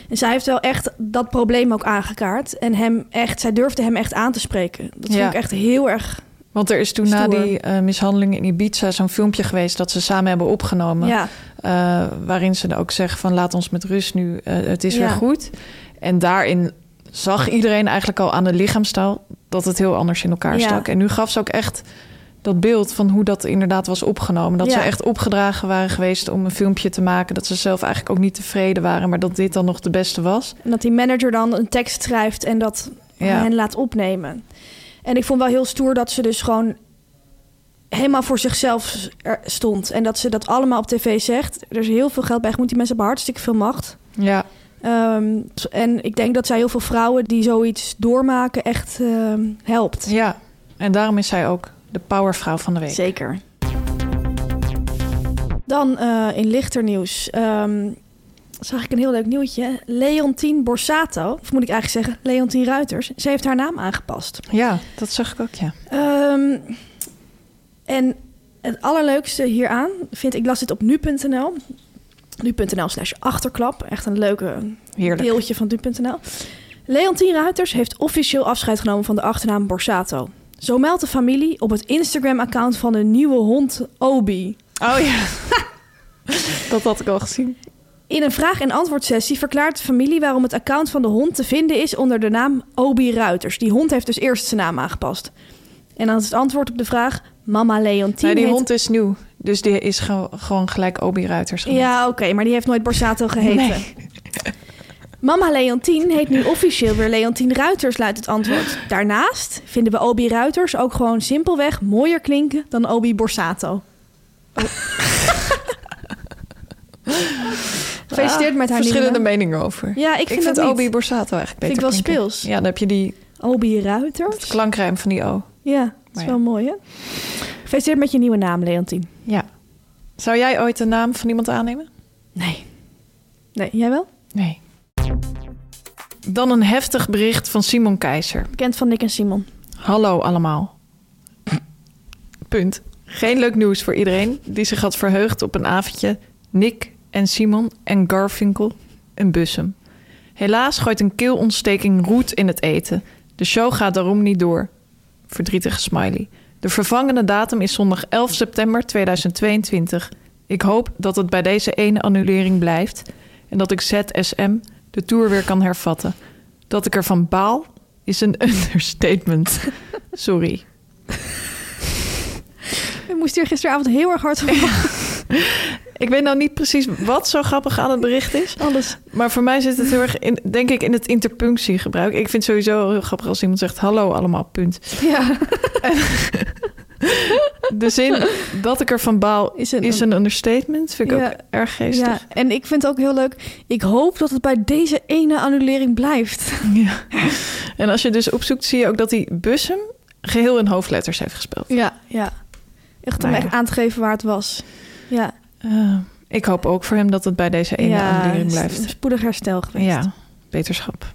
[SPEAKER 4] En zij heeft wel echt dat probleem ook aangekaart. En hem echt, zij durfde hem echt aan te spreken. Dat
[SPEAKER 5] Ja.
[SPEAKER 4] vind ik echt heel erg.
[SPEAKER 5] Want er is toen na
[SPEAKER 4] Stoer.
[SPEAKER 5] die eh, mishandeling in Ibiza zo'n filmpje geweest dat ze samen hebben opgenomen.
[SPEAKER 4] Ja,
[SPEAKER 5] Eh, waarin ze ook zeggen van laat ons met rust nu, eh, het is
[SPEAKER 4] Ja.
[SPEAKER 5] weer goed. En daarin zag iedereen eigenlijk al aan de lichaamstaal dat het heel anders in elkaar
[SPEAKER 4] Ja.
[SPEAKER 5] stak. En nu gaf ze ook echt dat beeld van hoe dat inderdaad was opgenomen. Dat
[SPEAKER 4] Ja.
[SPEAKER 5] ze echt opgedragen waren geweest om een filmpje te maken. Dat ze zelf eigenlijk ook niet tevreden waren, maar dat dit dan nog de beste was.
[SPEAKER 4] en dat die manager dan een tekst schrijft Oh, en dat
[SPEAKER 5] Ja.
[SPEAKER 4] hen laat opnemen. En ik vond wel heel stoer dat ze dus gewoon helemaal voor zichzelf er stond. En dat ze dat allemaal op tv zegt. Er is heel veel geld bij gemoeid. Die mensen hebben hartstikke veel macht.
[SPEAKER 5] Ja,
[SPEAKER 4] Ehm, en ik denk dat zij heel veel vrouwen die zoiets doormaken echt ehm, helpt.
[SPEAKER 5] ja. En daarom is zij ook de powervrouw van de week.
[SPEAKER 4] Zeker. Dan eh, in lichter nieuws ehm, zag ik een heel leuk nieuwtje. Leontien Borsato, of moet ik eigenlijk zeggen Leontien Ruiters, ze heeft haar naam aangepast.
[SPEAKER 5] Ja, dat zag ik ook, ja.
[SPEAKER 4] Ehm, en het allerleukste hieraan vind ik, las dit op nu.nl. Nu.nl slash achterklap. Echt een leuke
[SPEAKER 5] Heerlijk.
[SPEAKER 4] deeltje van nu.nl. Leontien Ruiters heeft officieel afscheid genomen van de achternaam Borsato. Zo meldt de familie op het Instagram-account van hun nieuwe hond Obi.
[SPEAKER 5] Oh ja. *laughs* dat had ik al gezien.
[SPEAKER 4] In een vraag- en antwoordsessie verklaart de familie waarom het account van de hond te vinden is onder de naam Obi Ruiters. Die hond heeft dus eerst zijn naam aangepast. En dan is het antwoord op de vraag: Mama Leontien.
[SPEAKER 5] Nee, die
[SPEAKER 4] heet-
[SPEAKER 5] hond is nieuw. Dus die is ge- gewoon gelijk Obi Ruiters. genoemd.
[SPEAKER 4] Ja, oké, maar die heeft nooit Borsato geheten.
[SPEAKER 5] Nee.
[SPEAKER 4] *laughs* Mama Leontien heet nu officieel weer Leontien Ruiters, luidt het antwoord. Daarnaast vinden we Obi Ruiters ook gewoon simpelweg mooier klinken dan Obi Borsato. Oh. *laughs* Gefeliciteerd met haar
[SPEAKER 5] Verschillende
[SPEAKER 4] nieuwe
[SPEAKER 5] meningen over.
[SPEAKER 4] naam. Ja, ik
[SPEAKER 5] ik
[SPEAKER 4] vind,
[SPEAKER 5] vind,
[SPEAKER 4] dat
[SPEAKER 5] Obi
[SPEAKER 4] niet.
[SPEAKER 5] Borsato eigenlijk
[SPEAKER 4] Vind
[SPEAKER 5] beter
[SPEAKER 4] ik wel
[SPEAKER 5] klinken.
[SPEAKER 4] speels.
[SPEAKER 5] Ja, dan heb je die
[SPEAKER 4] Obi Ruiters?
[SPEAKER 5] klankrijm van die O.
[SPEAKER 4] Ja, dat is
[SPEAKER 5] Maar ja.
[SPEAKER 4] wel mooi hè? Gefeliciteerd met je nieuwe naam, Leontien.
[SPEAKER 5] Ja. Zou jij ooit de naam van iemand aannemen?
[SPEAKER 4] Nee. Nee, jij wel?
[SPEAKER 5] Nee. Dan een heftig bericht van Simon Keizer.
[SPEAKER 4] Bekend van Nick en Simon.
[SPEAKER 5] Hallo allemaal. Punt. Geen leuk nieuws voor iedereen die zich had verheugd op een avondje. Nick en Simon en Garfinkel en Bussum. Helaas gooit een keelontsteking roet in het eten. De show gaat daarom niet door. Verdrietige smiley. De vervangende datum is zondag 11 september 2022. Ik hoop dat het bij deze ene annulering blijft en dat ik ZSM de tour weer kan hervatten. Dat ik ervan baal is een *laughs* understatement. Sorry.
[SPEAKER 4] Ik moest hier gisteravond heel erg *laughs* hard om lachen.
[SPEAKER 5] Ik weet nou niet precies wat zo grappig aan het bericht is.
[SPEAKER 4] Alles.
[SPEAKER 5] Maar voor mij zit het heel erg, in, denk ik, in het interpunctiegebruik. Ik vind sowieso al heel grappig als iemand zegt... hallo allemaal, punt.
[SPEAKER 4] Ja.
[SPEAKER 5] De zin
[SPEAKER 4] *laughs*
[SPEAKER 5] dat ik ervan baal
[SPEAKER 4] Is
[SPEAKER 5] is
[SPEAKER 4] een-
[SPEAKER 5] een, understatement. Vind ik
[SPEAKER 4] Ja.
[SPEAKER 5] ook erg geestig.
[SPEAKER 4] Ja, en ik vind het ook heel leuk. Ik hoop dat het bij deze ene annulering blijft.
[SPEAKER 5] *laughs* Ja. En als je dus opzoekt, zie je ook dat hij Bussum... geheel in hoofdletters heeft gespeeld.
[SPEAKER 4] *laughs* Ja, ja. Echt om
[SPEAKER 5] Nou ja.
[SPEAKER 4] echt aan te geven waar het was. Ja,
[SPEAKER 5] Eh, ik hoop ook voor hem dat het bij deze ene
[SPEAKER 4] Ah. ja,
[SPEAKER 5] annulering
[SPEAKER 4] het is
[SPEAKER 5] blijft.
[SPEAKER 4] een spoedig herstel geweest.
[SPEAKER 5] Ja, beterschap.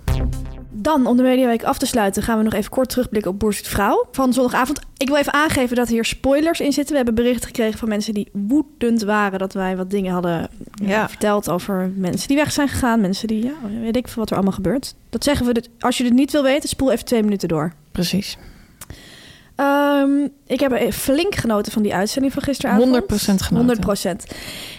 [SPEAKER 4] Dan, om de Mediaweek af te sluiten, gaan we nog even kort terugblikken op Boer Zoekt Vrouw van zondagavond. Ik wil even aangeven dat hier spoilers in zitten. We hebben berichten gekregen van mensen die woedend waren dat wij wat dingen hadden eh,
[SPEAKER 5] Ja.
[SPEAKER 4] verteld over mensen die weg zijn gegaan. Mensen die, ja, weet ik veel wat er allemaal gebeurt. Dat zeggen we, dit- als je dit niet wil weten, spoel even twee minuten door.
[SPEAKER 5] Precies. 100%
[SPEAKER 4] Ehm, ik heb eh, flink genoten van die uitzending van gisteravond.
[SPEAKER 5] genoten.
[SPEAKER 4] 100%.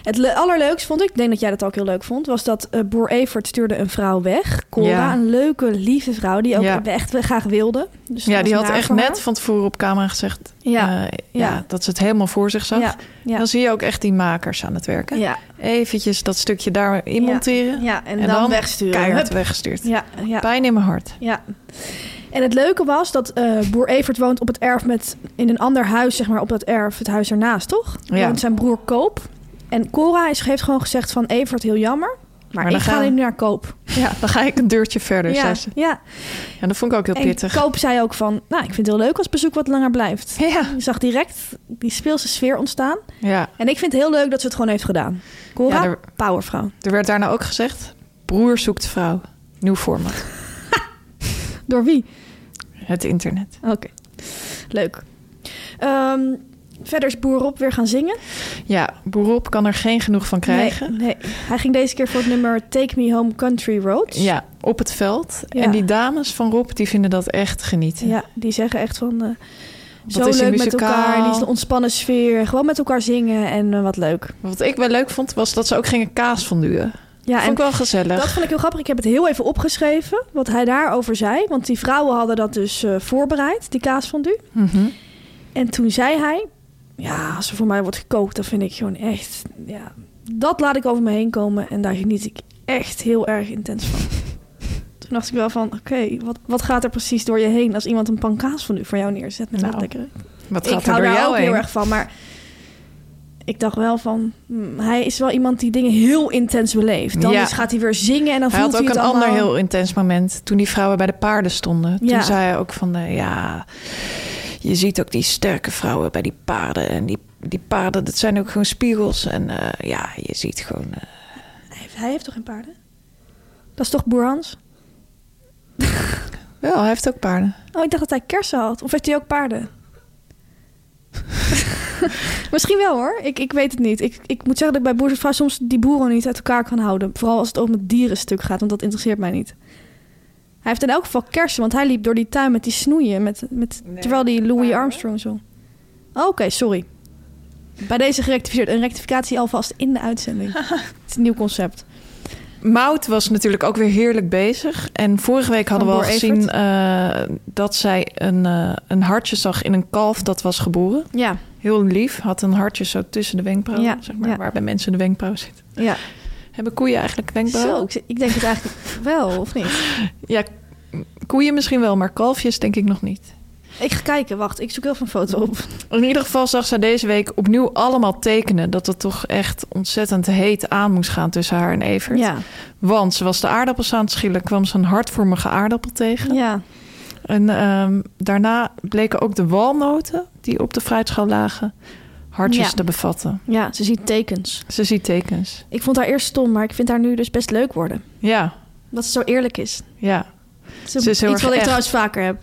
[SPEAKER 4] Het le- allerleukst vond ik, ik denk dat jij dat ook heel leuk vond, was dat eh, Boer Evert stuurde een vrouw weg. Cora,
[SPEAKER 5] Ja.
[SPEAKER 4] een leuke, lieve vrouw die ook
[SPEAKER 5] Ja.
[SPEAKER 4] echt wel graag wilde. Dus dat
[SPEAKER 5] Ja, die
[SPEAKER 4] was
[SPEAKER 5] had
[SPEAKER 4] naar
[SPEAKER 5] echt
[SPEAKER 4] voor haar.
[SPEAKER 5] net van tevoren op camera gezegd
[SPEAKER 4] Ja,
[SPEAKER 5] eh, ja.
[SPEAKER 4] ja.
[SPEAKER 5] dat ze het helemaal voor zich zag.
[SPEAKER 4] Ja, ja.
[SPEAKER 5] Dan zie je ook echt die makers aan het werken.
[SPEAKER 4] Ja,
[SPEAKER 5] Eventjes dat stukje daarin
[SPEAKER 4] Ja.
[SPEAKER 5] monteren.
[SPEAKER 4] ja, en, dan, wegsturen.
[SPEAKER 5] Keihard
[SPEAKER 4] Hup.
[SPEAKER 5] weggestuurd.
[SPEAKER 4] Ja, ja.
[SPEAKER 5] Pijn in mijn hart.
[SPEAKER 4] Ja. En het leuke was dat eh, boer Evert woont op het erf met in een ander huis, zeg maar, op dat erf, het huis ernaast, toch?
[SPEAKER 5] Ja.
[SPEAKER 4] Woont zijn broer Koop. En Cora is, heeft gewoon gezegd van Evert, heel jammer, maar,
[SPEAKER 5] dan
[SPEAKER 4] ik ga
[SPEAKER 5] gaan we-
[SPEAKER 4] nu naar Koop.
[SPEAKER 5] *laughs* Ja, dan ga ik een deurtje verder,
[SPEAKER 4] ja,
[SPEAKER 5] zei ze.
[SPEAKER 4] ja.
[SPEAKER 5] Ja, dat vond ik ook heel
[SPEAKER 4] En
[SPEAKER 5] pittig.
[SPEAKER 4] Koop zei ook van, nou, ik vind het heel leuk als bezoek wat langer blijft.
[SPEAKER 5] *laughs* Ja.
[SPEAKER 4] Je zag direct die speelse sfeer ontstaan.
[SPEAKER 5] ja,
[SPEAKER 4] En ik vind het heel leuk dat ze het gewoon heeft gedaan. Cora,
[SPEAKER 5] Ja, er-
[SPEAKER 4] powervrouw.
[SPEAKER 5] er werd daarna ook gezegd... broer zoekt vrouw. Nieuw format.
[SPEAKER 4] Door wie?
[SPEAKER 5] Het internet.
[SPEAKER 4] Oké, leuk. Ehm, Verder is Boer Rob weer gaan zingen.
[SPEAKER 5] Ja, Boerop kan er geen genoeg van krijgen.
[SPEAKER 4] Nee, nee. Hij ging deze keer voor het nummer Take Me Home Country Roads.
[SPEAKER 5] Ja, op het veld.
[SPEAKER 4] Ja.
[SPEAKER 5] En die dames van Rob, die vinden dat echt genieten.
[SPEAKER 4] Ja, die zeggen echt van... eh, zo
[SPEAKER 5] is hier
[SPEAKER 4] leuk met elkaar,
[SPEAKER 5] muzikaal?
[SPEAKER 4] die is een ontspannen sfeer. Gewoon met elkaar zingen en eh, wat leuk.
[SPEAKER 5] Wat ik wel leuk vond, was dat ze ook gingen kaas fonduren.
[SPEAKER 4] Ja,
[SPEAKER 5] Vond
[SPEAKER 4] en
[SPEAKER 5] ik wel gezellig.
[SPEAKER 4] Dat vond ik heel grappig. Ik heb het heel even opgeschreven wat hij daarover zei. Want die vrouwen hadden dat dus eh, voorbereid, die kaas van du.
[SPEAKER 5] Mhm.
[SPEAKER 4] En toen zei hij: Ja, als er voor mij wordt gekookt, dan vind ik gewoon echt. Ja, dat laat ik over me heen komen. En daar geniet ik echt heel erg intens
[SPEAKER 5] *laughs*
[SPEAKER 4] van. Toen dacht ik wel van: Oké, wat, wat gaat er precies door je heen als iemand een pan kaas van u voor jou neerzet? Met
[SPEAKER 5] Nou,
[SPEAKER 4] wat lekkere.
[SPEAKER 5] Wat
[SPEAKER 4] Ik
[SPEAKER 5] gaat er
[SPEAKER 4] hou
[SPEAKER 5] door
[SPEAKER 4] daar ook
[SPEAKER 5] jou heen?
[SPEAKER 4] heel erg van. Maar ik dacht wel van, hmm, hij is wel iemand die dingen heel intens beleeft. Dan
[SPEAKER 5] Ja.
[SPEAKER 4] is- gaat hij weer zingen en dan
[SPEAKER 5] Hij
[SPEAKER 4] voelt
[SPEAKER 5] had ook
[SPEAKER 4] hij
[SPEAKER 5] een
[SPEAKER 4] het
[SPEAKER 5] ander
[SPEAKER 4] allemaal.
[SPEAKER 5] heel intens moment toen die vrouwen bij de paarden stonden.
[SPEAKER 4] Ja.
[SPEAKER 5] Toen zei hij ook van, eh, ja, je ziet ook die sterke vrouwen bij die paarden. En die, die paarden, dat zijn ook gewoon spiegels. En eh, ja, je ziet gewoon... eh,
[SPEAKER 4] Hij heeft, hij heeft toch geen paarden? Dat is toch Boer Hans?
[SPEAKER 5] wel, hij heeft ook paarden.
[SPEAKER 4] Oh, ik dacht dat hij kersen had. Of heeft hij ook paarden? *laughs* Misschien wel hoor. Ik, ik weet het niet. Ik, ik moet zeggen dat ik bij boerenvrouw soms die boeren niet uit elkaar kan houden. Vooral als het om het dierenstuk gaat, want dat interesseert mij niet. Hij heeft in elk geval kersen, want hij liep door die tuin met die snoeien. Met, met, terwijl die Louis Armstrong zo. Oh, Oké, sorry. Bij deze gerectificeerd. Een rectificatie alvast in de *laughs* uitzending. het is een nieuw concept.
[SPEAKER 5] Mout was natuurlijk ook weer heerlijk bezig. En vorige week hadden
[SPEAKER 4] Van
[SPEAKER 5] we al
[SPEAKER 4] Boer
[SPEAKER 5] gezien eh, dat zij een, eh, een hartje zag in een kalf dat was geboren.
[SPEAKER 4] Ja,
[SPEAKER 5] Heel lief, had een hartje zo tussen de wenkbrauwen,
[SPEAKER 4] Ja,
[SPEAKER 5] zeg maar,
[SPEAKER 4] ja.
[SPEAKER 5] waar bij mensen de wenkbrauw zit.
[SPEAKER 4] ja.
[SPEAKER 5] Hebben koeien eigenlijk wenkbrauwen?
[SPEAKER 4] Zo, ik, ik denk het eigenlijk wel, of niet?
[SPEAKER 5] Ja, koeien misschien wel, maar kalfjes denk ik nog niet.
[SPEAKER 4] Ik ga kijken, wacht, ik zoek heel veel een foto op.
[SPEAKER 5] In ieder geval zag zij deze week opnieuw allemaal tekenen dat het toch echt ontzettend heet aan moest gaan tussen haar en Evert.
[SPEAKER 4] Ja,
[SPEAKER 5] Want ze was de aardappels aan het schillen, kwam ze een hartvormige aardappel tegen.
[SPEAKER 4] ja.
[SPEAKER 5] En ehm, daarna bleken ook de walnoten die op de fruitschaal lagen hartjes
[SPEAKER 4] Ja.
[SPEAKER 5] te bevatten.
[SPEAKER 4] ja, ze ziet tekens.
[SPEAKER 5] Ze ziet tekens.
[SPEAKER 4] Ik vond haar eerst stom, maar ik vind haar nu dus best leuk worden.
[SPEAKER 5] Ja,
[SPEAKER 4] Dat ze zo eerlijk is.
[SPEAKER 5] ja.
[SPEAKER 4] Ze,
[SPEAKER 5] Ze is heel
[SPEAKER 4] iets wat
[SPEAKER 5] erg
[SPEAKER 4] ik
[SPEAKER 5] echt.
[SPEAKER 4] trouwens vaker heb.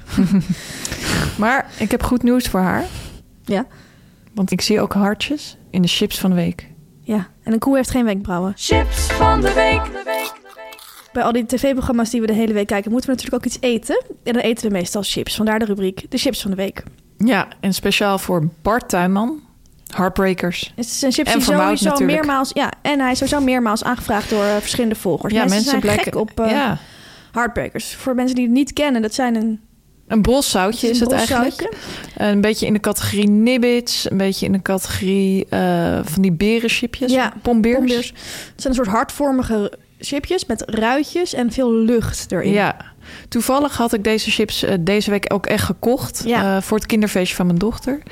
[SPEAKER 5] Maar ik heb goed nieuws voor haar.
[SPEAKER 4] Ja.
[SPEAKER 5] Want ik zie ook hartjes in de chips van de week.
[SPEAKER 4] Ja, en een koe heeft geen wenkbrauwen.
[SPEAKER 3] Chips van de week.
[SPEAKER 4] Bij al die tv-programma's die we de hele week kijken, moeten we natuurlijk ook iets eten. En dan eten we meestal chips. Vandaar de rubriek, de chips van de week.
[SPEAKER 5] Ja, en speciaal voor Bart Tuinman. Heartbreakers.
[SPEAKER 4] Het zijn chips
[SPEAKER 5] En
[SPEAKER 4] die
[SPEAKER 5] voor Mout
[SPEAKER 4] sowieso
[SPEAKER 5] natuurlijk.
[SPEAKER 4] meermaals... Ja, en hij is sowieso meermaals aangevraagd door eh, verschillende volgers. zijn gek op eh,
[SPEAKER 5] ja,
[SPEAKER 4] Heartbreakers. Voor mensen die het niet kennen, dat zijn een...
[SPEAKER 5] een bolzoutje is het eigenlijk.
[SPEAKER 4] bolzoutje.
[SPEAKER 5] Een beetje in de categorie nibbits. Een beetje in de categorie eh, van die berenchipjes.
[SPEAKER 4] Ja,
[SPEAKER 5] pombeers.
[SPEAKER 4] Pombeers. Het zijn een soort hartvormige chipjes met ruitjes en veel lucht erin.
[SPEAKER 5] Ja. Toevallig had ik deze chips eh, deze week ook echt gekocht.
[SPEAKER 4] Ja.
[SPEAKER 5] eh, voor het kinderfeestje van mijn dochter.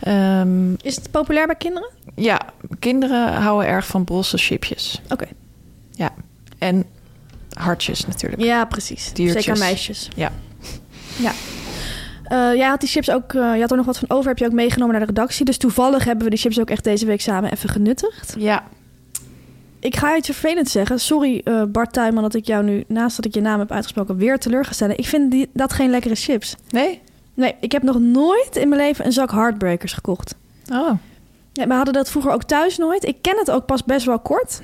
[SPEAKER 5] Ehm,
[SPEAKER 4] Is het populair bij kinderen?
[SPEAKER 5] ja, kinderen houden erg van brosse chipjes.
[SPEAKER 4] Oké.
[SPEAKER 5] Ja, en hartjes natuurlijk.
[SPEAKER 4] Ja, precies.
[SPEAKER 5] Diertjes.
[SPEAKER 4] Zeker meisjes.
[SPEAKER 5] Ja.
[SPEAKER 4] Ja. Eh, jij had die chips ook, eh, je had er nog wat van over, heb je ook meegenomen naar de redactie. Dus toevallig hebben we die chips ook echt deze week samen even genuttigd.
[SPEAKER 5] Ja,
[SPEAKER 4] Ik ga iets vervelends zeggen. Sorry eh, Bart Tuijman dat ik jou nu, naast dat ik je naam heb uitgesproken, weer teleur ga stellen. Ik vind die, dat geen lekkere chips.
[SPEAKER 5] nee?
[SPEAKER 4] Nee, ik heb nog nooit in mijn leven een zak Heartbreakers gekocht.
[SPEAKER 5] Oh,
[SPEAKER 4] Ja, we hadden dat vroeger ook thuis nooit. Ik ken het ook pas best wel kort.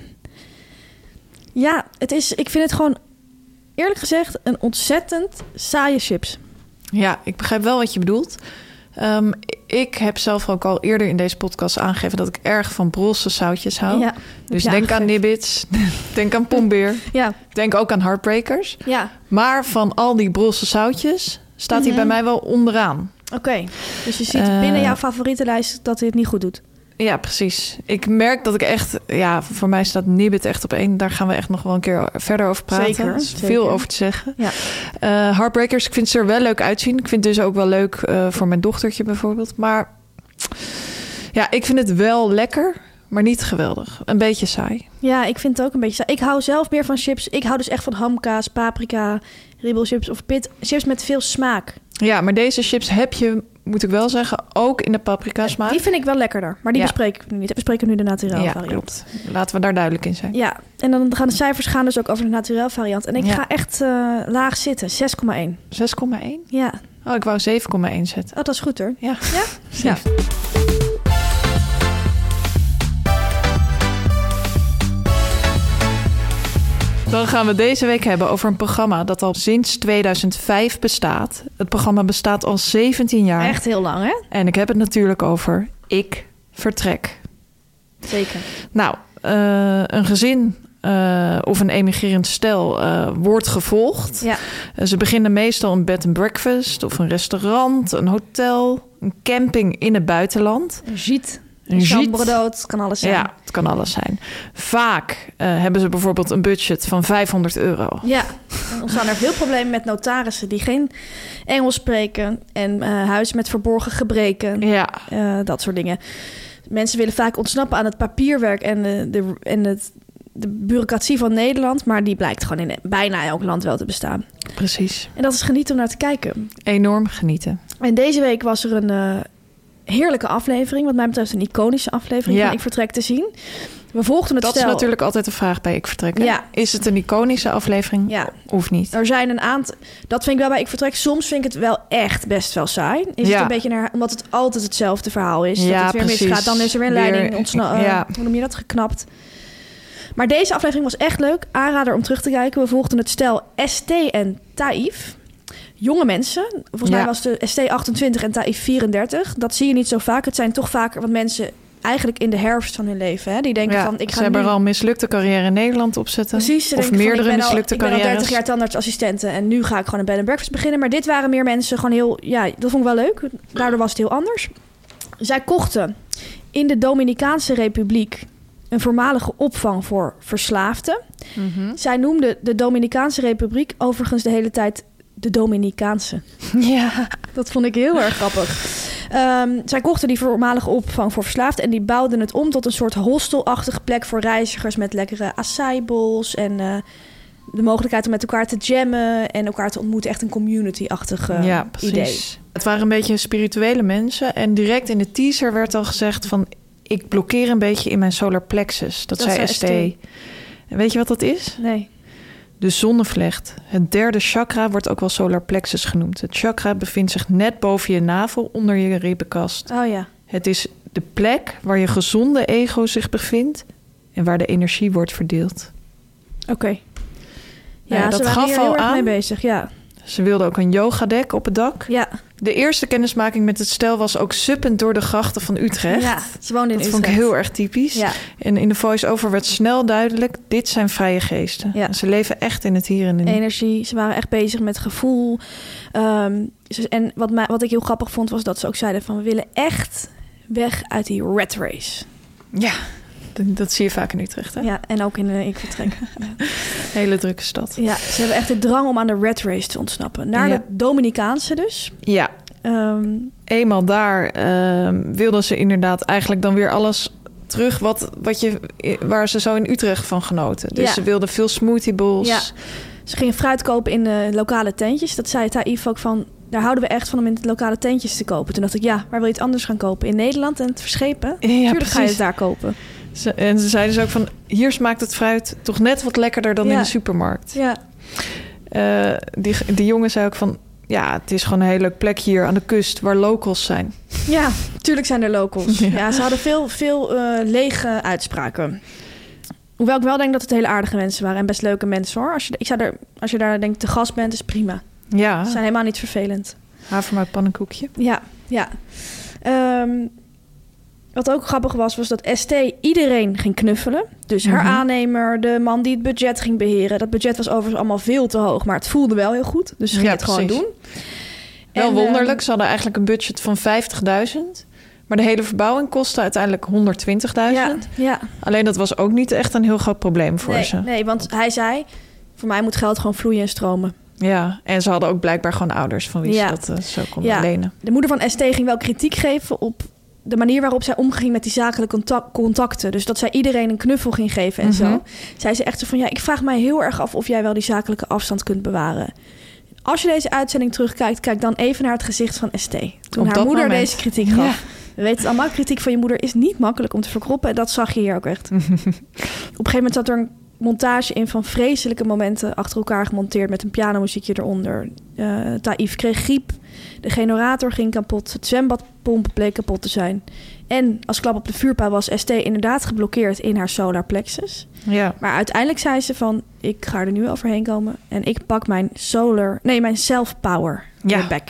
[SPEAKER 4] Ja, het is, ik vind het gewoon eerlijk gezegd een ontzettend saaie chips.
[SPEAKER 5] ja, ik begrijp wel wat je bedoelt. Ehm, ik heb zelf ook al eerder in deze podcast aangegeven dat ik erg van brosse zoutjes hou.
[SPEAKER 4] Ja,
[SPEAKER 5] dus
[SPEAKER 4] je
[SPEAKER 5] denk
[SPEAKER 4] aangegeven. *laughs*
[SPEAKER 5] aan nibbits, denk aan pombeer,
[SPEAKER 4] Ja,
[SPEAKER 5] denk ook aan heartbreakers.
[SPEAKER 4] ja.
[SPEAKER 5] Maar van al die brosse zoutjes staat hij
[SPEAKER 4] Mhm.
[SPEAKER 5] bij mij wel onderaan.
[SPEAKER 4] oké. Dus je ziet binnen
[SPEAKER 5] Eh.
[SPEAKER 4] jouw favoriete lijst dat hij het niet goed doet.
[SPEAKER 5] Ja, precies. Ik merk dat ik echt, ja, voor mij staat nibbit echt op één. Daar gaan we echt nog wel een keer verder over praten.
[SPEAKER 4] Zeker,
[SPEAKER 5] Er is
[SPEAKER 4] zeker.
[SPEAKER 5] veel over te zeggen.
[SPEAKER 4] Ja.
[SPEAKER 5] Eh, Heartbreakers, ik vind ze er wel leuk uitzien. Ik vind het dus ook wel leuk eh, voor mijn dochtertje bijvoorbeeld. Maar ja, ik vind het wel lekker, maar niet geweldig. Een beetje saai.
[SPEAKER 4] Ja, ik vind het ook een beetje saai. Ik hou zelf meer van chips. Ik hou dus echt van hamkaas, paprika, ribbelchips of pit. Chips met veel smaak.
[SPEAKER 5] Ja, maar deze chips heb je, moet ik wel zeggen, ook in de paprika smaak.
[SPEAKER 4] Die vind ik wel lekkerder, maar die
[SPEAKER 5] Ah. Ja.
[SPEAKER 4] bespreken we nu niet. We bespreken nu de naturel
[SPEAKER 5] ja,
[SPEAKER 4] variant.
[SPEAKER 5] klopt. Laten we daar duidelijk in zijn.
[SPEAKER 4] Ja, en dan gaan de cijfers gaan dus ook over de naturel variant. En ik
[SPEAKER 5] Ja.
[SPEAKER 4] ga echt eh, laag zitten, 6,1.
[SPEAKER 5] 6,1?
[SPEAKER 4] Ja,
[SPEAKER 5] Oh, ik wou 7,1 zetten.
[SPEAKER 4] oh, dat is goed hoor.
[SPEAKER 5] Ja.
[SPEAKER 4] Ja?
[SPEAKER 5] Ja. Dan gaan we deze week hebben over een programma dat al sinds 2005 bestaat. Het programma bestaat al 17 jaar.
[SPEAKER 4] Echt heel lang, hè?
[SPEAKER 5] En ik heb het natuurlijk over Ik Vertrek.
[SPEAKER 4] Zeker.
[SPEAKER 5] Nou, eh, een gezin eh, of een emigrerend stel eh, wordt gevolgd.
[SPEAKER 4] Ja.
[SPEAKER 5] Eh, Ze beginnen meestal een bed and breakfast of een restaurant, een hotel, een camping in het buitenland.
[SPEAKER 4] Een giet.
[SPEAKER 5] Een giet.
[SPEAKER 4] dood, kan alles zijn.
[SPEAKER 5] Ja, het kan alles zijn. Vaak eh, hebben ze bijvoorbeeld een budget van 500 euro.
[SPEAKER 4] Ja, er ontstaan er veel problemen met notarissen die geen Engels spreken en eh, huizen met verborgen gebreken,
[SPEAKER 5] Ja,
[SPEAKER 4] eh, dat soort dingen. Mensen willen vaak ontsnappen aan het papierwerk en, de, de, en het, de bureaucratie van Nederland, maar die blijkt gewoon in bijna elk land wel te bestaan.
[SPEAKER 5] precies.
[SPEAKER 4] En dat is geniet om naar te kijken.
[SPEAKER 5] Enorm genieten.
[SPEAKER 4] En deze week was er een eh, heerlijke aflevering, wat mij betreft een iconische aflevering
[SPEAKER 5] Ja.
[SPEAKER 4] van Ik Vertrek te zien. We volgden het
[SPEAKER 5] Dat is
[SPEAKER 4] stel.
[SPEAKER 5] natuurlijk altijd de vraag bij Ik Vertrek. hè?
[SPEAKER 4] Ja.
[SPEAKER 5] Is het een iconische aflevering
[SPEAKER 4] Ja.
[SPEAKER 5] of niet?
[SPEAKER 4] Er zijn een aantal. Dat vind ik wel bij ik vertrek. Soms vind ik het wel echt best wel saai. Is
[SPEAKER 5] Ja.
[SPEAKER 4] het een beetje naar, omdat het altijd hetzelfde verhaal is.
[SPEAKER 5] Ja,
[SPEAKER 4] dat het weer
[SPEAKER 5] precies.
[SPEAKER 4] misgaat. Dan is er weer een
[SPEAKER 5] Weer-
[SPEAKER 4] leiding
[SPEAKER 5] *laughs*
[SPEAKER 4] ontsnapt.
[SPEAKER 5] ja.
[SPEAKER 4] Hoe noem je dat? Geknapt. Maar deze aflevering was echt leuk. Aanrader om terug te kijken. We volgden het stel ST en Taif. Jonge mensen. Volgens
[SPEAKER 5] Ja.
[SPEAKER 4] mij was de ST 28 en Taif 34. Dat zie je niet zo vaak. Het zijn toch vaker wat mensen eigenlijk in de herfst van hun leven. Hè? Die denken
[SPEAKER 5] Ja,
[SPEAKER 4] van ik ga
[SPEAKER 5] ze hebben
[SPEAKER 4] nu
[SPEAKER 5] er al een mislukte carrière in Nederland op zitten.
[SPEAKER 4] Precies, ze
[SPEAKER 5] of
[SPEAKER 4] denken van,
[SPEAKER 5] meerdere
[SPEAKER 4] ik ben al,
[SPEAKER 5] mislukte
[SPEAKER 4] Ik ben al
[SPEAKER 5] carrières.
[SPEAKER 4] 30 jaar tandartsassistenten en nu ga ik gewoon een bed and breakfast beginnen. Maar dit waren meer mensen gewoon heel... Ja, dat vond ik wel leuk. Daardoor was het heel anders. Zij kochten in de Dominicaanse Republiek een voormalige opvang voor verslaafden.
[SPEAKER 5] Mhm.
[SPEAKER 4] Zij noemde de Dominicaanse Republiek overigens de hele tijd de Dominicaanse.
[SPEAKER 5] *laughs* Ja,
[SPEAKER 4] Dat vond ik heel erg grappig. Ehm, zij kochten die voormalige opvang voor verslaafden en die bouwden het om tot een soort hostelachtige plek voor reizigers met lekkere acai bowls en eh, de mogelijkheid om met elkaar te jammen en elkaar te ontmoeten. Echt een community-achtig eh,
[SPEAKER 5] ja,
[SPEAKER 4] idee.
[SPEAKER 5] precies. Het waren een beetje spirituele mensen. En direct in de teaser werd al gezegd van... ik blokkeer een beetje in mijn solar plexus. Dat,
[SPEAKER 4] Dat zei
[SPEAKER 5] zei ST.
[SPEAKER 4] ST.
[SPEAKER 5] En weet je wat dat is?
[SPEAKER 4] Nee.
[SPEAKER 5] De zonnevlecht. Het derde chakra wordt ook wel solar plexus genoemd. Het chakra bevindt zich net boven je navel, onder je ribbenkast.
[SPEAKER 4] Oh ja.
[SPEAKER 5] Het is de plek waar je gezonde ego zich bevindt... en waar de energie wordt verdeeld.
[SPEAKER 4] Oké. Ja,
[SPEAKER 5] Nou
[SPEAKER 4] ze
[SPEAKER 5] ja, dat
[SPEAKER 4] waren
[SPEAKER 5] gaf
[SPEAKER 4] hier heel
[SPEAKER 5] al
[SPEAKER 4] erg
[SPEAKER 5] aan.
[SPEAKER 4] mee bezig. Ja.
[SPEAKER 5] Ze wilden ook een yogadek op het dak.
[SPEAKER 4] Ja.
[SPEAKER 5] De eerste kennismaking met het stel was ook suppend door de grachten van Utrecht.
[SPEAKER 4] ja. Ze woonden in
[SPEAKER 5] dat
[SPEAKER 4] Utrecht.
[SPEAKER 5] vond ik heel erg typisch.
[SPEAKER 4] Ja.
[SPEAKER 5] En in de voice-over werd snel duidelijk... dit zijn vrije geesten.
[SPEAKER 4] Ja.
[SPEAKER 5] Ze leven echt in het hier en nu.
[SPEAKER 4] energie. Ze waren echt bezig met gevoel. Ehm, ze- en wat, mij, wat ik heel grappig vond, was dat ze ook zeiden van... we willen echt weg uit die rat race.
[SPEAKER 5] Ja, dat, dat zie je vaak in Utrecht. Hè?
[SPEAKER 4] Ja, en ook in eh, ik vertrek.
[SPEAKER 5] Hele drukke stad.
[SPEAKER 4] *laughs* ja, ze hebben echt de drang om aan de rat race te ontsnappen. Naar
[SPEAKER 5] Ja.
[SPEAKER 4] de Dominicaanse dus.
[SPEAKER 5] Ja,
[SPEAKER 4] Ehm,
[SPEAKER 5] eenmaal daar ehm, wilden ze inderdaad eigenlijk dan weer alles terug wat, wat je, waar ze zo in Utrecht van genoten. Dus
[SPEAKER 4] Ja.
[SPEAKER 5] ze wilden veel smoothie bowls.
[SPEAKER 4] Ja. ze gingen fruit kopen in eh, lokale tentjes. Dat zei Taif ook van... daar houden we echt van om in de lokale tentjes te kopen. Toen dacht ik, ja, waar wil je het anders gaan kopen? In Nederland en het verschepen?
[SPEAKER 5] Ja,
[SPEAKER 4] Tuurlijk ga je
[SPEAKER 5] precies.
[SPEAKER 4] het daar kopen.
[SPEAKER 5] Ze- en ze zeiden dus ook van, hier smaakt het fruit toch net wat lekkerder dan in
[SPEAKER 4] Ja.
[SPEAKER 5] de supermarkt.
[SPEAKER 4] Ja,
[SPEAKER 5] Eh, die, die jongen zei ook van, ja, het is gewoon een heel leuk plek hier aan de kust waar locals zijn.
[SPEAKER 4] Ja, tuurlijk zijn er locals.
[SPEAKER 5] Ja.
[SPEAKER 4] Ja, ze hadden veel, veel eh, lege uitspraken. Hoewel ik wel denk dat het hele aardige mensen waren en best leuke mensen hoor. Als je, ik zou er, als je daar denk ik te gast bent, is prima.
[SPEAKER 5] Ja,
[SPEAKER 4] Ze zijn helemaal niet vervelend.
[SPEAKER 5] havermout pannenkoekje.
[SPEAKER 4] Ja, ja. Ehm, wat ook grappig was, was dat ST iedereen ging knuffelen. Dus haar
[SPEAKER 5] Mhm.
[SPEAKER 4] aannemer, de man die het budget ging beheren. Dat budget was overigens allemaal veel te hoog, maar het voelde wel heel goed. Dus ze ging
[SPEAKER 5] Ja,
[SPEAKER 4] het gewoon
[SPEAKER 5] precies.
[SPEAKER 4] doen.
[SPEAKER 5] Wel
[SPEAKER 4] En,
[SPEAKER 5] wonderlijk,
[SPEAKER 4] ehm,
[SPEAKER 5] ze hadden eigenlijk een budget van 50.000. Maar de hele verbouwing kostte uiteindelijk 120.000.
[SPEAKER 4] ehm, ja, ja.
[SPEAKER 5] Alleen dat was ook niet echt een heel groot probleem voor
[SPEAKER 4] nee,
[SPEAKER 5] ze.
[SPEAKER 4] Nee, want hij zei: voor mij moet geld gewoon vloeien en stromen.
[SPEAKER 5] Ja, en ze hadden ook blijkbaar gewoon ouders van wie
[SPEAKER 4] Ja.
[SPEAKER 5] ze dat eh, zo konden
[SPEAKER 4] Ja.
[SPEAKER 5] lenen.
[SPEAKER 4] De moeder van ST ging wel kritiek geven op de manier waarop zij omging met die zakelijke contac- contacten. Dus dat zij iedereen een knuffel ging geven en
[SPEAKER 5] Mhm.
[SPEAKER 4] zo. Zei ze echt zo van: ja, ik vraag mij heel erg af of jij wel die zakelijke afstand kunt bewaren. Als je deze uitzending terugkijkt, kijk dan even naar het gezicht van ST. Toen
[SPEAKER 5] Op
[SPEAKER 4] haar
[SPEAKER 5] dat
[SPEAKER 4] moeder
[SPEAKER 5] moment.
[SPEAKER 4] deze kritiek gaf. We weten het allemaal, kritiek van je moeder is niet makkelijk om te verkroppen. En dat zag je hier ook echt. Op een gegeven moment zat er een montage in van vreselijke momenten achter elkaar gemonteerd met een pianomuziekje eronder. Eh Taif kreeg griep, de generator ging kapot, het zwembadpomp bleek kapot te zijn. En als klap op de vuurpijl was ST inderdaad geblokkeerd in haar solar plexus.
[SPEAKER 5] Ja.
[SPEAKER 4] Maar uiteindelijk zei ze van, ik ga er nu overheen komen en ik pak mijn solar, nee mijn self-power
[SPEAKER 5] Ja.
[SPEAKER 4] weer back.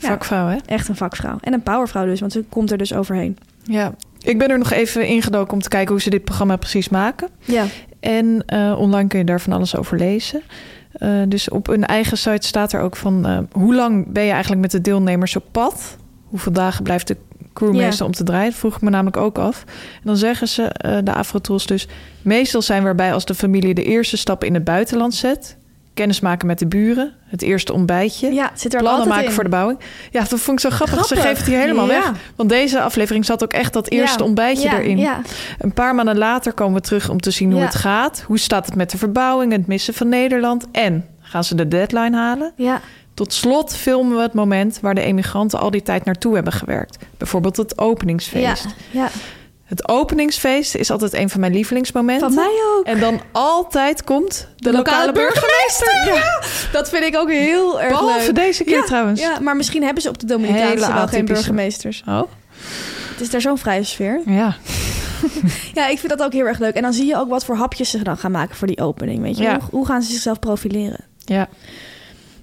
[SPEAKER 4] Ja.
[SPEAKER 5] Vakvrouw, hè?
[SPEAKER 4] Echt een vakvrouw. En een powervrouw dus, want ze komt er dus overheen.
[SPEAKER 5] Ja. Ik ben er nog even ingedoken om te kijken hoe ze dit programma precies maken.
[SPEAKER 4] Ja.
[SPEAKER 5] En eh, online kun je daar van alles over lezen. Eh, dus op hun eigen site staat er ook van... eh, hoe lang ben je eigenlijk met de deelnemers op pad? Hoeveel dagen blijft de crewmeester
[SPEAKER 4] Ja.
[SPEAKER 5] om te draaien? Dat vroeg ik me namelijk ook af. En dan zeggen ze, eh, de Afrotros dus... meestal zijn we erbij als de familie de eerste stap in het buitenland zet... kennismaken met de buren, het eerste ontbijtje...
[SPEAKER 4] Ja, het zit er ook
[SPEAKER 5] plannen
[SPEAKER 4] altijd
[SPEAKER 5] maken
[SPEAKER 4] in.
[SPEAKER 5] voor de bouwing. Ja, dat vond ik zo grappig. Ze
[SPEAKER 4] Grappig.
[SPEAKER 5] geeft het hier helemaal
[SPEAKER 4] Ja.
[SPEAKER 5] weg. Want deze aflevering zat ook echt dat eerste
[SPEAKER 4] Ja.
[SPEAKER 5] ontbijtje
[SPEAKER 4] Ja,
[SPEAKER 5] erin.
[SPEAKER 4] Ja.
[SPEAKER 5] Een paar maanden later komen we terug om te zien hoe
[SPEAKER 4] Ja.
[SPEAKER 5] het gaat. Hoe staat het met de verbouwing, het missen van Nederland? En gaan ze de deadline halen?
[SPEAKER 4] ja.
[SPEAKER 5] Tot slot filmen we het moment waar de emigranten al die tijd naartoe hebben gewerkt. Bijvoorbeeld het openingsfeest.
[SPEAKER 4] Ja, ja.
[SPEAKER 5] Het openingsfeest is altijd een van mijn lievelingsmomenten.
[SPEAKER 4] Van mij ook.
[SPEAKER 5] En dan altijd komt de, lokale,
[SPEAKER 4] lokale
[SPEAKER 5] burgemeester. Ja.
[SPEAKER 4] Dat vind ik ook heel erg
[SPEAKER 5] Behalve
[SPEAKER 4] leuk.
[SPEAKER 5] deze keer
[SPEAKER 4] ja,
[SPEAKER 5] trouwens.
[SPEAKER 4] Ja, maar misschien hebben ze op de
[SPEAKER 5] Hele
[SPEAKER 4] Dominicaanse wel geen
[SPEAKER 5] atypische.
[SPEAKER 4] burgemeesters.
[SPEAKER 5] Oh,
[SPEAKER 4] Het is daar zo'n vrije sfeer.
[SPEAKER 5] ja.
[SPEAKER 4] Ja, ik vind dat ook heel erg leuk. En dan zie je ook wat voor hapjes ze dan gaan maken voor die opening. Weet je?
[SPEAKER 5] Ja.
[SPEAKER 4] Hoe, hoe gaan ze zichzelf profileren?
[SPEAKER 5] ja.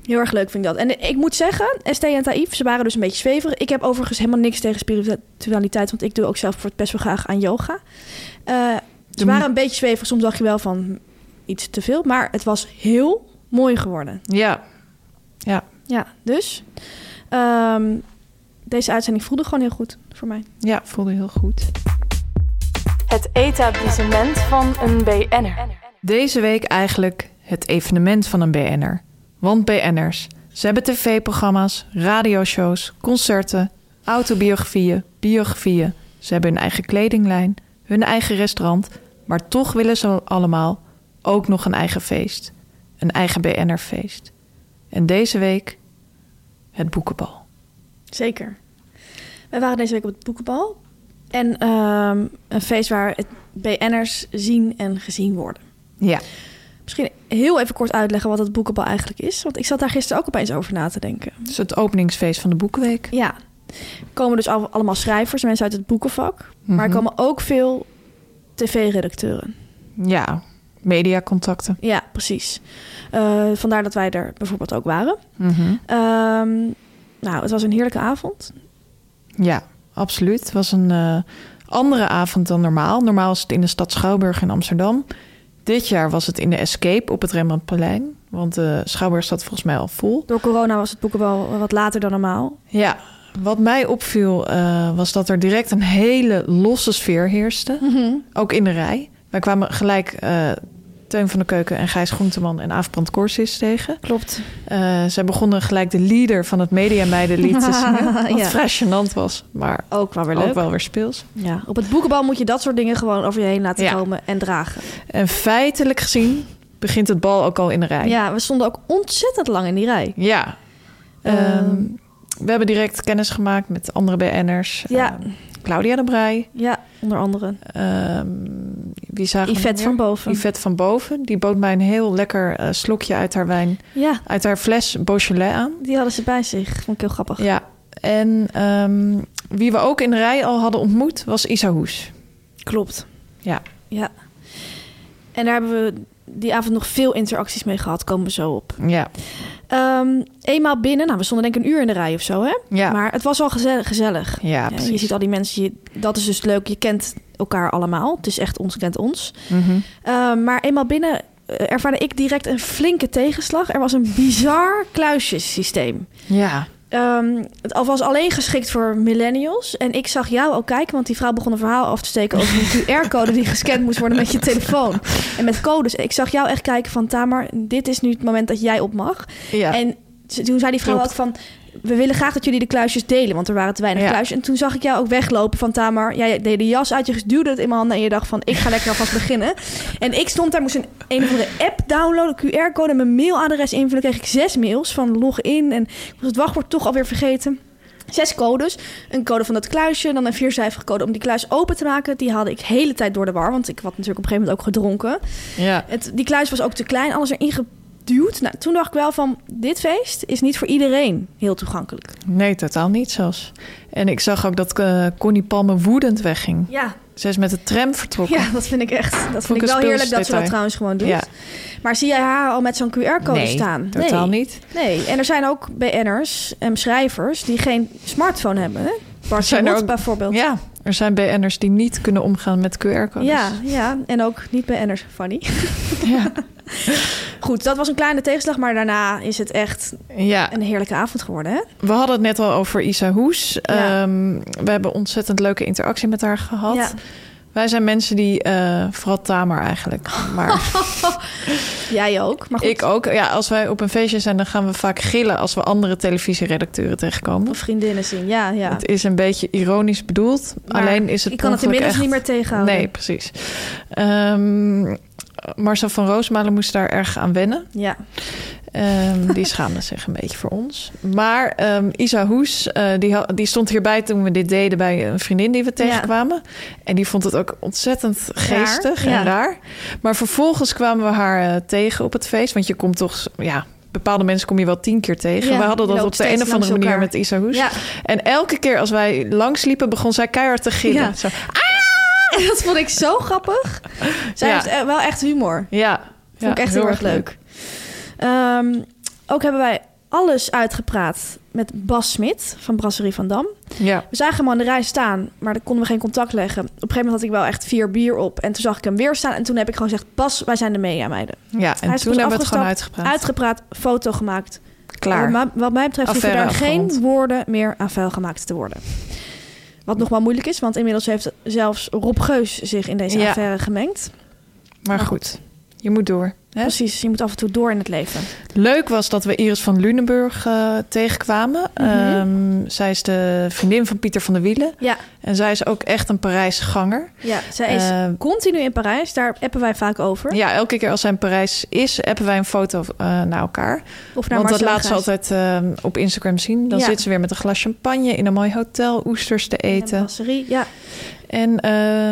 [SPEAKER 4] Heel erg leuk vind ik dat. En ik moet zeggen, ST en Taïf, ze waren dus een beetje zweverig. Ik heb overigens helemaal niks tegen spiritualiteit, want ik doe ook zelf voor het best wel graag aan yoga. Eh, ze
[SPEAKER 5] mo-
[SPEAKER 4] waren een beetje zweverig. Soms dacht je wel van iets te veel, maar het was heel mooi geworden.
[SPEAKER 5] Ja.
[SPEAKER 4] Ja, dus ehm, deze uitzending voelde gewoon heel goed voor mij.
[SPEAKER 5] Ja, voelde heel goed.
[SPEAKER 6] Het etablissement van een BN'er.
[SPEAKER 5] Deze week eigenlijk het evenement van een BN'er. Want BN'ers, ze hebben tv-programma's, radioshows, concerten, autobiografieën, biografieën. Ze hebben hun eigen kledinglijn, hun eigen restaurant. Maar toch willen ze allemaal ook nog een eigen feest. Een eigen BN'er-feest. En deze week het boekenbal.
[SPEAKER 4] Zeker. Wij waren deze week op het boekenbal. En ehm, een feest waar het BN'ers zien en gezien worden.
[SPEAKER 5] Ja.
[SPEAKER 4] Misschien heel even kort uitleggen wat het boekenbal eigenlijk is. Want ik zat daar gisteren ook opeens over na te denken.
[SPEAKER 5] Dus het openingsfeest van de Boekenweek.
[SPEAKER 4] Ja, er komen dus al- allemaal schrijvers, mensen uit het boekenvak. Maar er
[SPEAKER 5] Mhm.
[SPEAKER 4] komen ook veel tv-redacteuren.
[SPEAKER 5] Ja, mediacontacten.
[SPEAKER 4] Ja, precies. Eh, vandaar dat wij er bijvoorbeeld ook waren.
[SPEAKER 5] Mhm.
[SPEAKER 4] Ehm, nou, het was een heerlijke avond.
[SPEAKER 5] Ja, absoluut. Het was een eh, andere avond dan normaal. Normaal is het in de stad Schouwburg in Amsterdam. Dit jaar was het in de Escape op het Rembrandtplein. Want de Schouwburg staat volgens mij al vol.
[SPEAKER 4] Door corona was het boekenbal wat later dan normaal.
[SPEAKER 5] Ja, wat mij opviel eh, was dat er direct een hele losse sfeer heerste.
[SPEAKER 4] Mhm.
[SPEAKER 5] Ook in de rij. Wij kwamen gelijk eh, Teun van de Keuken en Gijs Groenteman en Aafbrand Korsis tegen.
[SPEAKER 4] Klopt.
[SPEAKER 5] Eh, zij begonnen gelijk de leader van het Media Meidenlied
[SPEAKER 4] *laughs*
[SPEAKER 5] te zingen. Wat
[SPEAKER 4] Ja.
[SPEAKER 5] vrij gênant was, maar
[SPEAKER 4] Ook wel weer
[SPEAKER 5] ook
[SPEAKER 4] leuk.
[SPEAKER 5] wel weer speels.
[SPEAKER 4] Ja, op het boekenbal moet je dat soort dingen gewoon over je heen laten
[SPEAKER 5] Ja.
[SPEAKER 4] komen en dragen.
[SPEAKER 5] En feitelijk gezien begint het bal ook al in de rij.
[SPEAKER 4] Ja, we stonden ook ontzettend lang in die rij.
[SPEAKER 5] Ja. Ehm, we hebben direct kennis gemaakt met andere BN'ers.
[SPEAKER 4] Ja.
[SPEAKER 5] Ehm, Claudia de Brij.
[SPEAKER 4] Ja, onder andere.
[SPEAKER 5] Ehm, wie zagen we
[SPEAKER 4] Yvette
[SPEAKER 5] nog
[SPEAKER 4] van
[SPEAKER 5] meer?
[SPEAKER 4] Boven.
[SPEAKER 5] Yvette van Boven. Die bood mij een heel lekker eh, slokje uit haar wijn.
[SPEAKER 4] Ja,
[SPEAKER 5] Uit haar fles Beaujolais aan.
[SPEAKER 4] die hadden ze bij zich. Vond ik heel grappig.
[SPEAKER 5] Ja. En ehm, wie we ook in de rij al hadden ontmoet was Isa Hoes.
[SPEAKER 4] Klopt.
[SPEAKER 5] Ja.
[SPEAKER 4] Ja. En daar hebben we die avond nog veel interacties mee gehad. Komen we zo op.
[SPEAKER 5] Ja.
[SPEAKER 4] Ehm, eenmaal binnen, nou, we stonden denk ik een uur in de rij of zo, hè?
[SPEAKER 5] Ja.
[SPEAKER 4] Maar het was al geze- gezellig.
[SPEAKER 5] ja,
[SPEAKER 4] Ja,
[SPEAKER 5] precies.
[SPEAKER 4] je ziet al die mensen, je- dat is dus leuk. Je kent elkaar allemaal. Het is echt ons kent ons.
[SPEAKER 5] Mhm.
[SPEAKER 4] Ehm, maar eenmaal binnen eh, ervaarde ik direct een flinke tegenslag. Er was een bizar kluisjesysteem.
[SPEAKER 5] Ja.
[SPEAKER 4] Ehm, het al- was alleen geschikt voor millennials. En ik zag jou al kijken, want die vrouw begon een verhaal af te steken over
[SPEAKER 5] *laughs*
[SPEAKER 4] een QR-code die gescand moest worden met je telefoon. En met codes. Ik zag jou echt kijken van Tamar, dit is nu het moment dat jij op mag.
[SPEAKER 5] ja.
[SPEAKER 4] En ze- toen zei die vrouw
[SPEAKER 5] Klopt.
[SPEAKER 4] ook van... We willen graag dat jullie de kluisjes delen, want er waren te weinig
[SPEAKER 5] Ja.
[SPEAKER 4] kluisjes. En toen zag ik jou ook weglopen van Tamar. Jij deed de jas uit, je duwde het in mijn handen en je dacht van... ik ga lekker alvast *laughs* beginnen. En ik stond daar, moest een, een of andere app downloaden, QR-code en mijn mailadres invullen. kreeg ik zes mails van log in en ik was het wachtwoord toch alweer vergeten. Zes codes. Een code van dat kluisje, dan een viercijferige code om die kluis open te maken. Die haalde ik de hele tijd door de war, want ik had natuurlijk op een gegeven moment ook gedronken.
[SPEAKER 5] Ja.
[SPEAKER 4] Het, die kluis was ook te klein, alles erin geduwd. Nou, toen dacht ik wel van, dit feest is niet voor iedereen heel toegankelijk.
[SPEAKER 5] Nee, totaal niet zelfs. En ik zag ook dat eh, Connie Palme woedend wegging.
[SPEAKER 4] Ja,
[SPEAKER 5] Ze is met de tram vertrokken.
[SPEAKER 4] ja dat vind ik echt. Dat
[SPEAKER 5] Vond
[SPEAKER 4] vind
[SPEAKER 5] ik
[SPEAKER 4] ik wel
[SPEAKER 5] een
[SPEAKER 4] heerlijk dat ze dat
[SPEAKER 5] speels
[SPEAKER 4] trouwens gewoon doet.
[SPEAKER 5] Ja.
[SPEAKER 4] Maar zie jij haar al met zo'n QR-code
[SPEAKER 5] nee,
[SPEAKER 4] staan?
[SPEAKER 5] totaal
[SPEAKER 4] nee.
[SPEAKER 5] niet.
[SPEAKER 4] Nee, en er zijn ook BN'ers en schrijvers die geen smartphone hebben. Hè? Bart
[SPEAKER 5] Zijn er
[SPEAKER 4] Sabot
[SPEAKER 5] ook-
[SPEAKER 4] bijvoorbeeld.
[SPEAKER 5] Ja, er zijn BN'ers die niet kunnen omgaan met QR-codes.
[SPEAKER 4] Ja, ja, en ook niet BN'ers, Fanny.
[SPEAKER 5] *laughs* Ja.
[SPEAKER 4] Goed, dat was een kleine tegenslag, maar daarna is het echt
[SPEAKER 5] ja,
[SPEAKER 4] een heerlijke avond geworden. Hè?
[SPEAKER 5] we hadden het net al over Isa Hoes.
[SPEAKER 4] Ja.
[SPEAKER 5] Ehm, we hebben ontzettend leuke interactie met haar gehad.
[SPEAKER 4] Ja.
[SPEAKER 5] Wij zijn mensen die, eh, vooral Tamer eigenlijk,
[SPEAKER 4] Oh. *laughs*
[SPEAKER 5] maar
[SPEAKER 4] Jij ook, maar goed.
[SPEAKER 5] ik ook. Ja, als wij op een feestje zijn, dan gaan we vaak gillen als we andere televisieredacteuren tegenkomen.
[SPEAKER 4] Of vriendinnen zien, ja, ja.
[SPEAKER 5] Het is een beetje ironisch bedoeld.
[SPEAKER 4] Maar
[SPEAKER 5] Alleen is het
[SPEAKER 4] ik kan het
[SPEAKER 5] per ongeluk
[SPEAKER 4] inmiddels
[SPEAKER 5] echt...
[SPEAKER 4] niet meer tegenhouden.
[SPEAKER 5] Nee, precies. Ehm, Marcel van Roosmalen moest daar erg aan wennen.
[SPEAKER 4] Ja, *laughs*
[SPEAKER 5] Ehm, die schaamde zich een beetje voor ons. Maar ehm, Isa Hoes, eh, die, ha- die stond hierbij toen we dit deden bij een vriendin die we tegenkwamen. En die vond het ook ontzettend geestig
[SPEAKER 4] ja.
[SPEAKER 5] en raar. Maar vervolgens kwamen we haar eh, tegen op het feest. Want je komt toch, ja, bepaalde mensen kom je wel tien keer tegen.
[SPEAKER 4] Ja,
[SPEAKER 5] we hadden
[SPEAKER 4] je
[SPEAKER 5] dat
[SPEAKER 4] loopt
[SPEAKER 5] op de
[SPEAKER 4] steeds
[SPEAKER 5] een of andere
[SPEAKER 4] langs
[SPEAKER 5] manier
[SPEAKER 4] elkaar.
[SPEAKER 5] met Isa Hoes.
[SPEAKER 4] Ja. *laughs*
[SPEAKER 5] En elke keer als wij langsliepen, begon zij keihard te gillen.
[SPEAKER 4] Ja.
[SPEAKER 5] Zo,
[SPEAKER 4] dat vond ik zo grappig. Zij
[SPEAKER 5] Ja.
[SPEAKER 4] heeft eh, wel echt humor.
[SPEAKER 5] ja. Ja,
[SPEAKER 4] Vond ik echt heel, erg leuk. Ehm, ook hebben wij alles uitgepraat met Bas Smit van Brasserie van Dam.
[SPEAKER 5] Ja.
[SPEAKER 4] We zagen hem al in de rij staan, maar daar konden we geen contact leggen. Op een gegeven moment had ik wel echt vier bier op. En toen zag ik hem weer staan. En toen heb ik gewoon gezegd, Bas, wij zijn de media meiden.
[SPEAKER 5] ja, en
[SPEAKER 4] Hij is
[SPEAKER 5] toen
[SPEAKER 4] pas
[SPEAKER 5] hebben we het gewoon
[SPEAKER 4] afgestapt,
[SPEAKER 5] uitgepraat.
[SPEAKER 4] Uitgepraat, foto gemaakt. Wat
[SPEAKER 5] Klaar.
[SPEAKER 4] ma- Wat mij betreft hoeven
[SPEAKER 5] Affaire
[SPEAKER 4] daar geen
[SPEAKER 5] afgerond.
[SPEAKER 4] woorden meer aan vuil gemaakt te worden. Wat nog wel moeilijk is, want inmiddels heeft zelfs Rob Geus zich in deze
[SPEAKER 5] Ja.
[SPEAKER 4] affaire gemengd.
[SPEAKER 5] Maar goed, je moet door. Hè?
[SPEAKER 4] Precies, je moet af en toe door in het leven.
[SPEAKER 5] Leuk was dat we Iris van Lunenburg eh, tegenkwamen.
[SPEAKER 4] Mhm.
[SPEAKER 5] Ehm, zij is de vriendin van Pieter van der Wielen.
[SPEAKER 4] Ja,
[SPEAKER 5] En zij is ook echt een Parijsganger.
[SPEAKER 4] Ja, zij is
[SPEAKER 5] Eh,
[SPEAKER 4] continu in Parijs. Daar appen wij vaak over.
[SPEAKER 5] Ja, elke keer als zij in Parijs is, appen wij een foto eh, naar elkaar.
[SPEAKER 4] Of naar
[SPEAKER 5] Want dat
[SPEAKER 4] Marcel
[SPEAKER 5] laat ze
[SPEAKER 4] Grijs.
[SPEAKER 5] altijd ehm, op Instagram zien. Dan
[SPEAKER 4] Ja.
[SPEAKER 5] zit ze weer met een glas champagne in een mooi hotel, oesters te
[SPEAKER 4] En
[SPEAKER 5] eten.
[SPEAKER 4] brasserie, Ja.
[SPEAKER 5] En eh,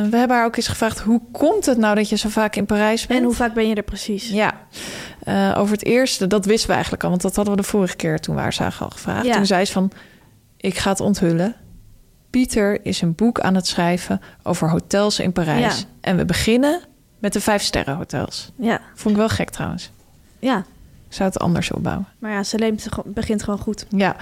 [SPEAKER 5] we hebben haar ook eens gevraagd: hoe komt het nou dat je zo vaak in Parijs bent?
[SPEAKER 4] En hoe vaak ben je er precies?
[SPEAKER 5] Ja, Eh, over het eerste, dat wisten we eigenlijk al. Want dat hadden we de vorige keer toen we haar zagen al gevraagd.
[SPEAKER 4] Ja.
[SPEAKER 5] Toen zei ze van, ik ga het onthullen. Pieter is een boek aan het schrijven over hotels in Parijs.
[SPEAKER 4] Ja.
[SPEAKER 5] En we beginnen met de vijf sterren hotels.
[SPEAKER 4] Ja.
[SPEAKER 5] Vond ik wel gek trouwens.
[SPEAKER 4] ja.
[SPEAKER 5] Ik zou het anders opbouwen.
[SPEAKER 4] Maar ja, ze leemt gewoon- begint gewoon goed.
[SPEAKER 5] Ja,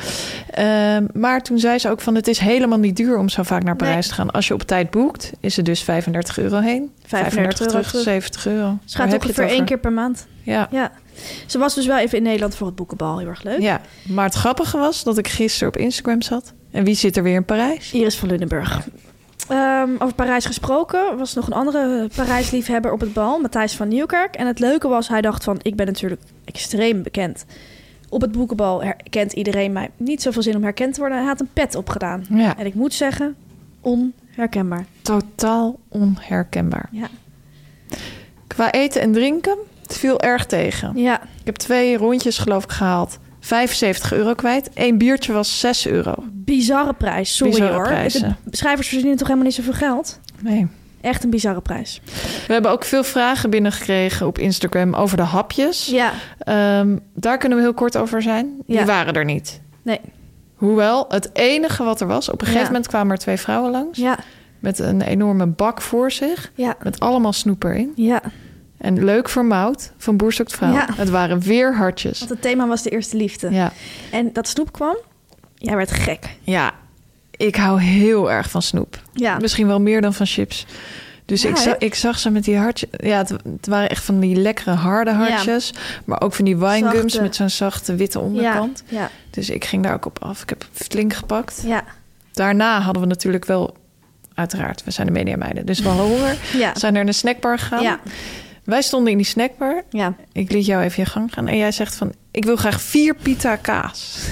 [SPEAKER 5] Ehm, maar toen zei ze ook van... het is helemaal niet duur om zo vaak naar Parijs
[SPEAKER 4] Nee.
[SPEAKER 5] te gaan. Als je op tijd boekt, is het dus 35 euro heen.
[SPEAKER 4] 35 euro terug.
[SPEAKER 5] 70 euro.
[SPEAKER 4] Ze
[SPEAKER 5] Waar
[SPEAKER 4] gaat
[SPEAKER 5] heb je het
[SPEAKER 4] ongeveer één
[SPEAKER 5] over?
[SPEAKER 4] keer per maand.
[SPEAKER 5] Ja.
[SPEAKER 4] Ja. Ze was dus wel even in Nederland voor het boekenbal. Heel erg leuk.
[SPEAKER 5] Ja, maar het grappige was dat ik gisteren op Instagram zat. En wie zit er weer in Parijs?
[SPEAKER 4] Iris van Lunenburg. Ehm, over Parijs gesproken was nog een andere Parijsliefhebber op het bal, Matthijs van Nieuwkerk. En het leuke was, hij dacht van, ik ben natuurlijk extreem bekend. Op het boekenbal herkent iedereen mij. Niet zoveel zin om herkend te worden. Hij had een pet opgedaan.
[SPEAKER 5] Ja.
[SPEAKER 4] En ik moet zeggen, onherkenbaar.
[SPEAKER 5] Totaal onherkenbaar.
[SPEAKER 4] Ja.
[SPEAKER 5] Qua eten en drinken, het viel erg tegen.
[SPEAKER 4] Ja,
[SPEAKER 5] Ik heb twee rondjes geloof ik gehaald. 75 euro kwijt. Eén biertje was 6 euro.
[SPEAKER 4] bizarre prijs. Sorry
[SPEAKER 5] Bizarre
[SPEAKER 4] hoor.
[SPEAKER 5] prijzen.
[SPEAKER 4] De schrijvers verdienen toch helemaal niet zoveel geld?
[SPEAKER 5] Nee.
[SPEAKER 4] Echt een bizarre prijs.
[SPEAKER 5] We hebben ook veel vragen binnengekregen op Instagram over de hapjes.
[SPEAKER 4] Ja,
[SPEAKER 5] Ehm, daar kunnen we heel kort over zijn. Die
[SPEAKER 4] Ja.
[SPEAKER 5] waren er niet.
[SPEAKER 4] nee.
[SPEAKER 5] Hoewel, het enige wat er was... op een gegeven
[SPEAKER 4] Ja.
[SPEAKER 5] moment kwamen er twee vrouwen langs...
[SPEAKER 4] Ja,
[SPEAKER 5] met een enorme bak voor zich...
[SPEAKER 4] ja,
[SPEAKER 5] met allemaal snoep erin.
[SPEAKER 4] ja.
[SPEAKER 5] En leuk voor Mout van Boer Zoekt Vrouw.
[SPEAKER 4] Ja.
[SPEAKER 5] Het waren weer hartjes.
[SPEAKER 4] Want het thema was de eerste liefde.
[SPEAKER 5] Ja.
[SPEAKER 4] En dat snoep kwam. Jij werd gek.
[SPEAKER 5] ja, ik hou heel erg van snoep.
[SPEAKER 4] Ja.
[SPEAKER 5] Misschien wel meer dan van chips. Dus
[SPEAKER 4] Ja,
[SPEAKER 5] ik,
[SPEAKER 4] hè?
[SPEAKER 5] za- ik zag ze met die hartjes. Ja, het, het waren echt van die lekkere harde hartjes. Maar ook van die winegums
[SPEAKER 4] Zachte.
[SPEAKER 5] met zo'n zachte witte onderkant.
[SPEAKER 4] Ja,
[SPEAKER 5] Dus ik ging daar ook op af. Ik heb flink gepakt.
[SPEAKER 4] ja,
[SPEAKER 5] Daarna hadden we natuurlijk wel... Uiteraard, we zijn de mediameiden. Dus we hadden honger.
[SPEAKER 4] ja.
[SPEAKER 5] Zijn naar de snackbar gegaan.
[SPEAKER 4] Ja.
[SPEAKER 5] Wij stonden in die snackbar.
[SPEAKER 4] ja. *laughs*
[SPEAKER 5] Ik liet jou even je gang gaan. En jij zegt van, ik wil graag vier pita
[SPEAKER 4] *laughs*
[SPEAKER 5] kaas.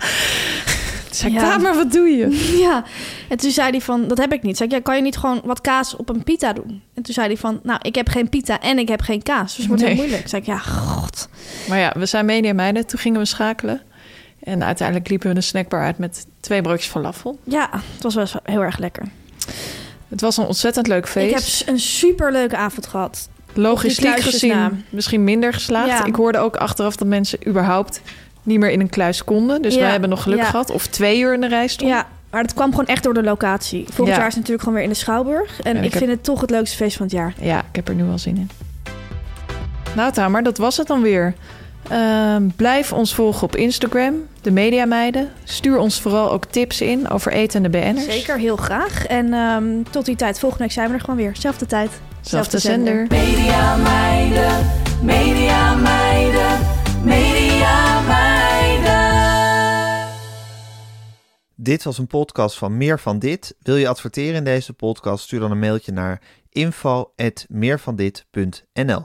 [SPEAKER 5] Toen zei ik,
[SPEAKER 4] Ja.
[SPEAKER 5] "Kamer, wat doe je?
[SPEAKER 4] Ja, en toen zei hij van, dat heb ik niet. Zei ik, ja, kan je niet gewoon wat kaas op een pita doen? En toen zei hij van, nou, ik heb geen pita en ik heb geen kaas. Dus het wordt
[SPEAKER 5] Nee.
[SPEAKER 4] heel moeilijk. Zei ik, ja, god.
[SPEAKER 5] Maar ja, we zijn media meiden. Toen gingen we schakelen. En uiteindelijk liepen we de snackbar uit met twee broodjes falafel.
[SPEAKER 4] Ja, het was wel eens heel erg lekker.
[SPEAKER 5] Het was een ontzettend leuk feest.
[SPEAKER 4] Ik heb s- een superleuke avond gehad. op die
[SPEAKER 5] Logistiek
[SPEAKER 4] kluisjes
[SPEAKER 5] gezien
[SPEAKER 4] na.
[SPEAKER 5] misschien minder geslaagd.
[SPEAKER 4] Ja.
[SPEAKER 5] Ik hoorde ook achteraf dat mensen überhaupt niet meer in een kluis konden. Dus
[SPEAKER 4] Ja,
[SPEAKER 5] wij hebben nog geluk
[SPEAKER 4] ja.
[SPEAKER 5] gehad. Of twee uur in de rij stonden.
[SPEAKER 4] Ja, maar dat kwam gewoon echt door de locatie. Volgend
[SPEAKER 5] Ja.
[SPEAKER 4] jaar is het natuurlijk gewoon weer in de Schouwburg. En
[SPEAKER 5] Ja,
[SPEAKER 4] ik,
[SPEAKER 5] ik heb-
[SPEAKER 4] vind het toch het leukste feest van het jaar.
[SPEAKER 5] Ja, ik heb er nu wel zin in. Nou, Tamer, dat was het dan weer. Ehm, blijf ons volgen op Instagram, de Media Meiden. Stuur ons vooral ook tips in over etende BN'ers.
[SPEAKER 4] Zeker, heel graag. En ehm, tot die tijd, volgende week zijn we er gewoon weer. Zelfde tijd.
[SPEAKER 5] Zelfde zender.
[SPEAKER 3] Media meiden, media meiden, media meiden.
[SPEAKER 7] Dit was een podcast van Meer van Dit. Wil je adverteren in deze podcast? Stuur dan een mailtje naar info.meervandit.nl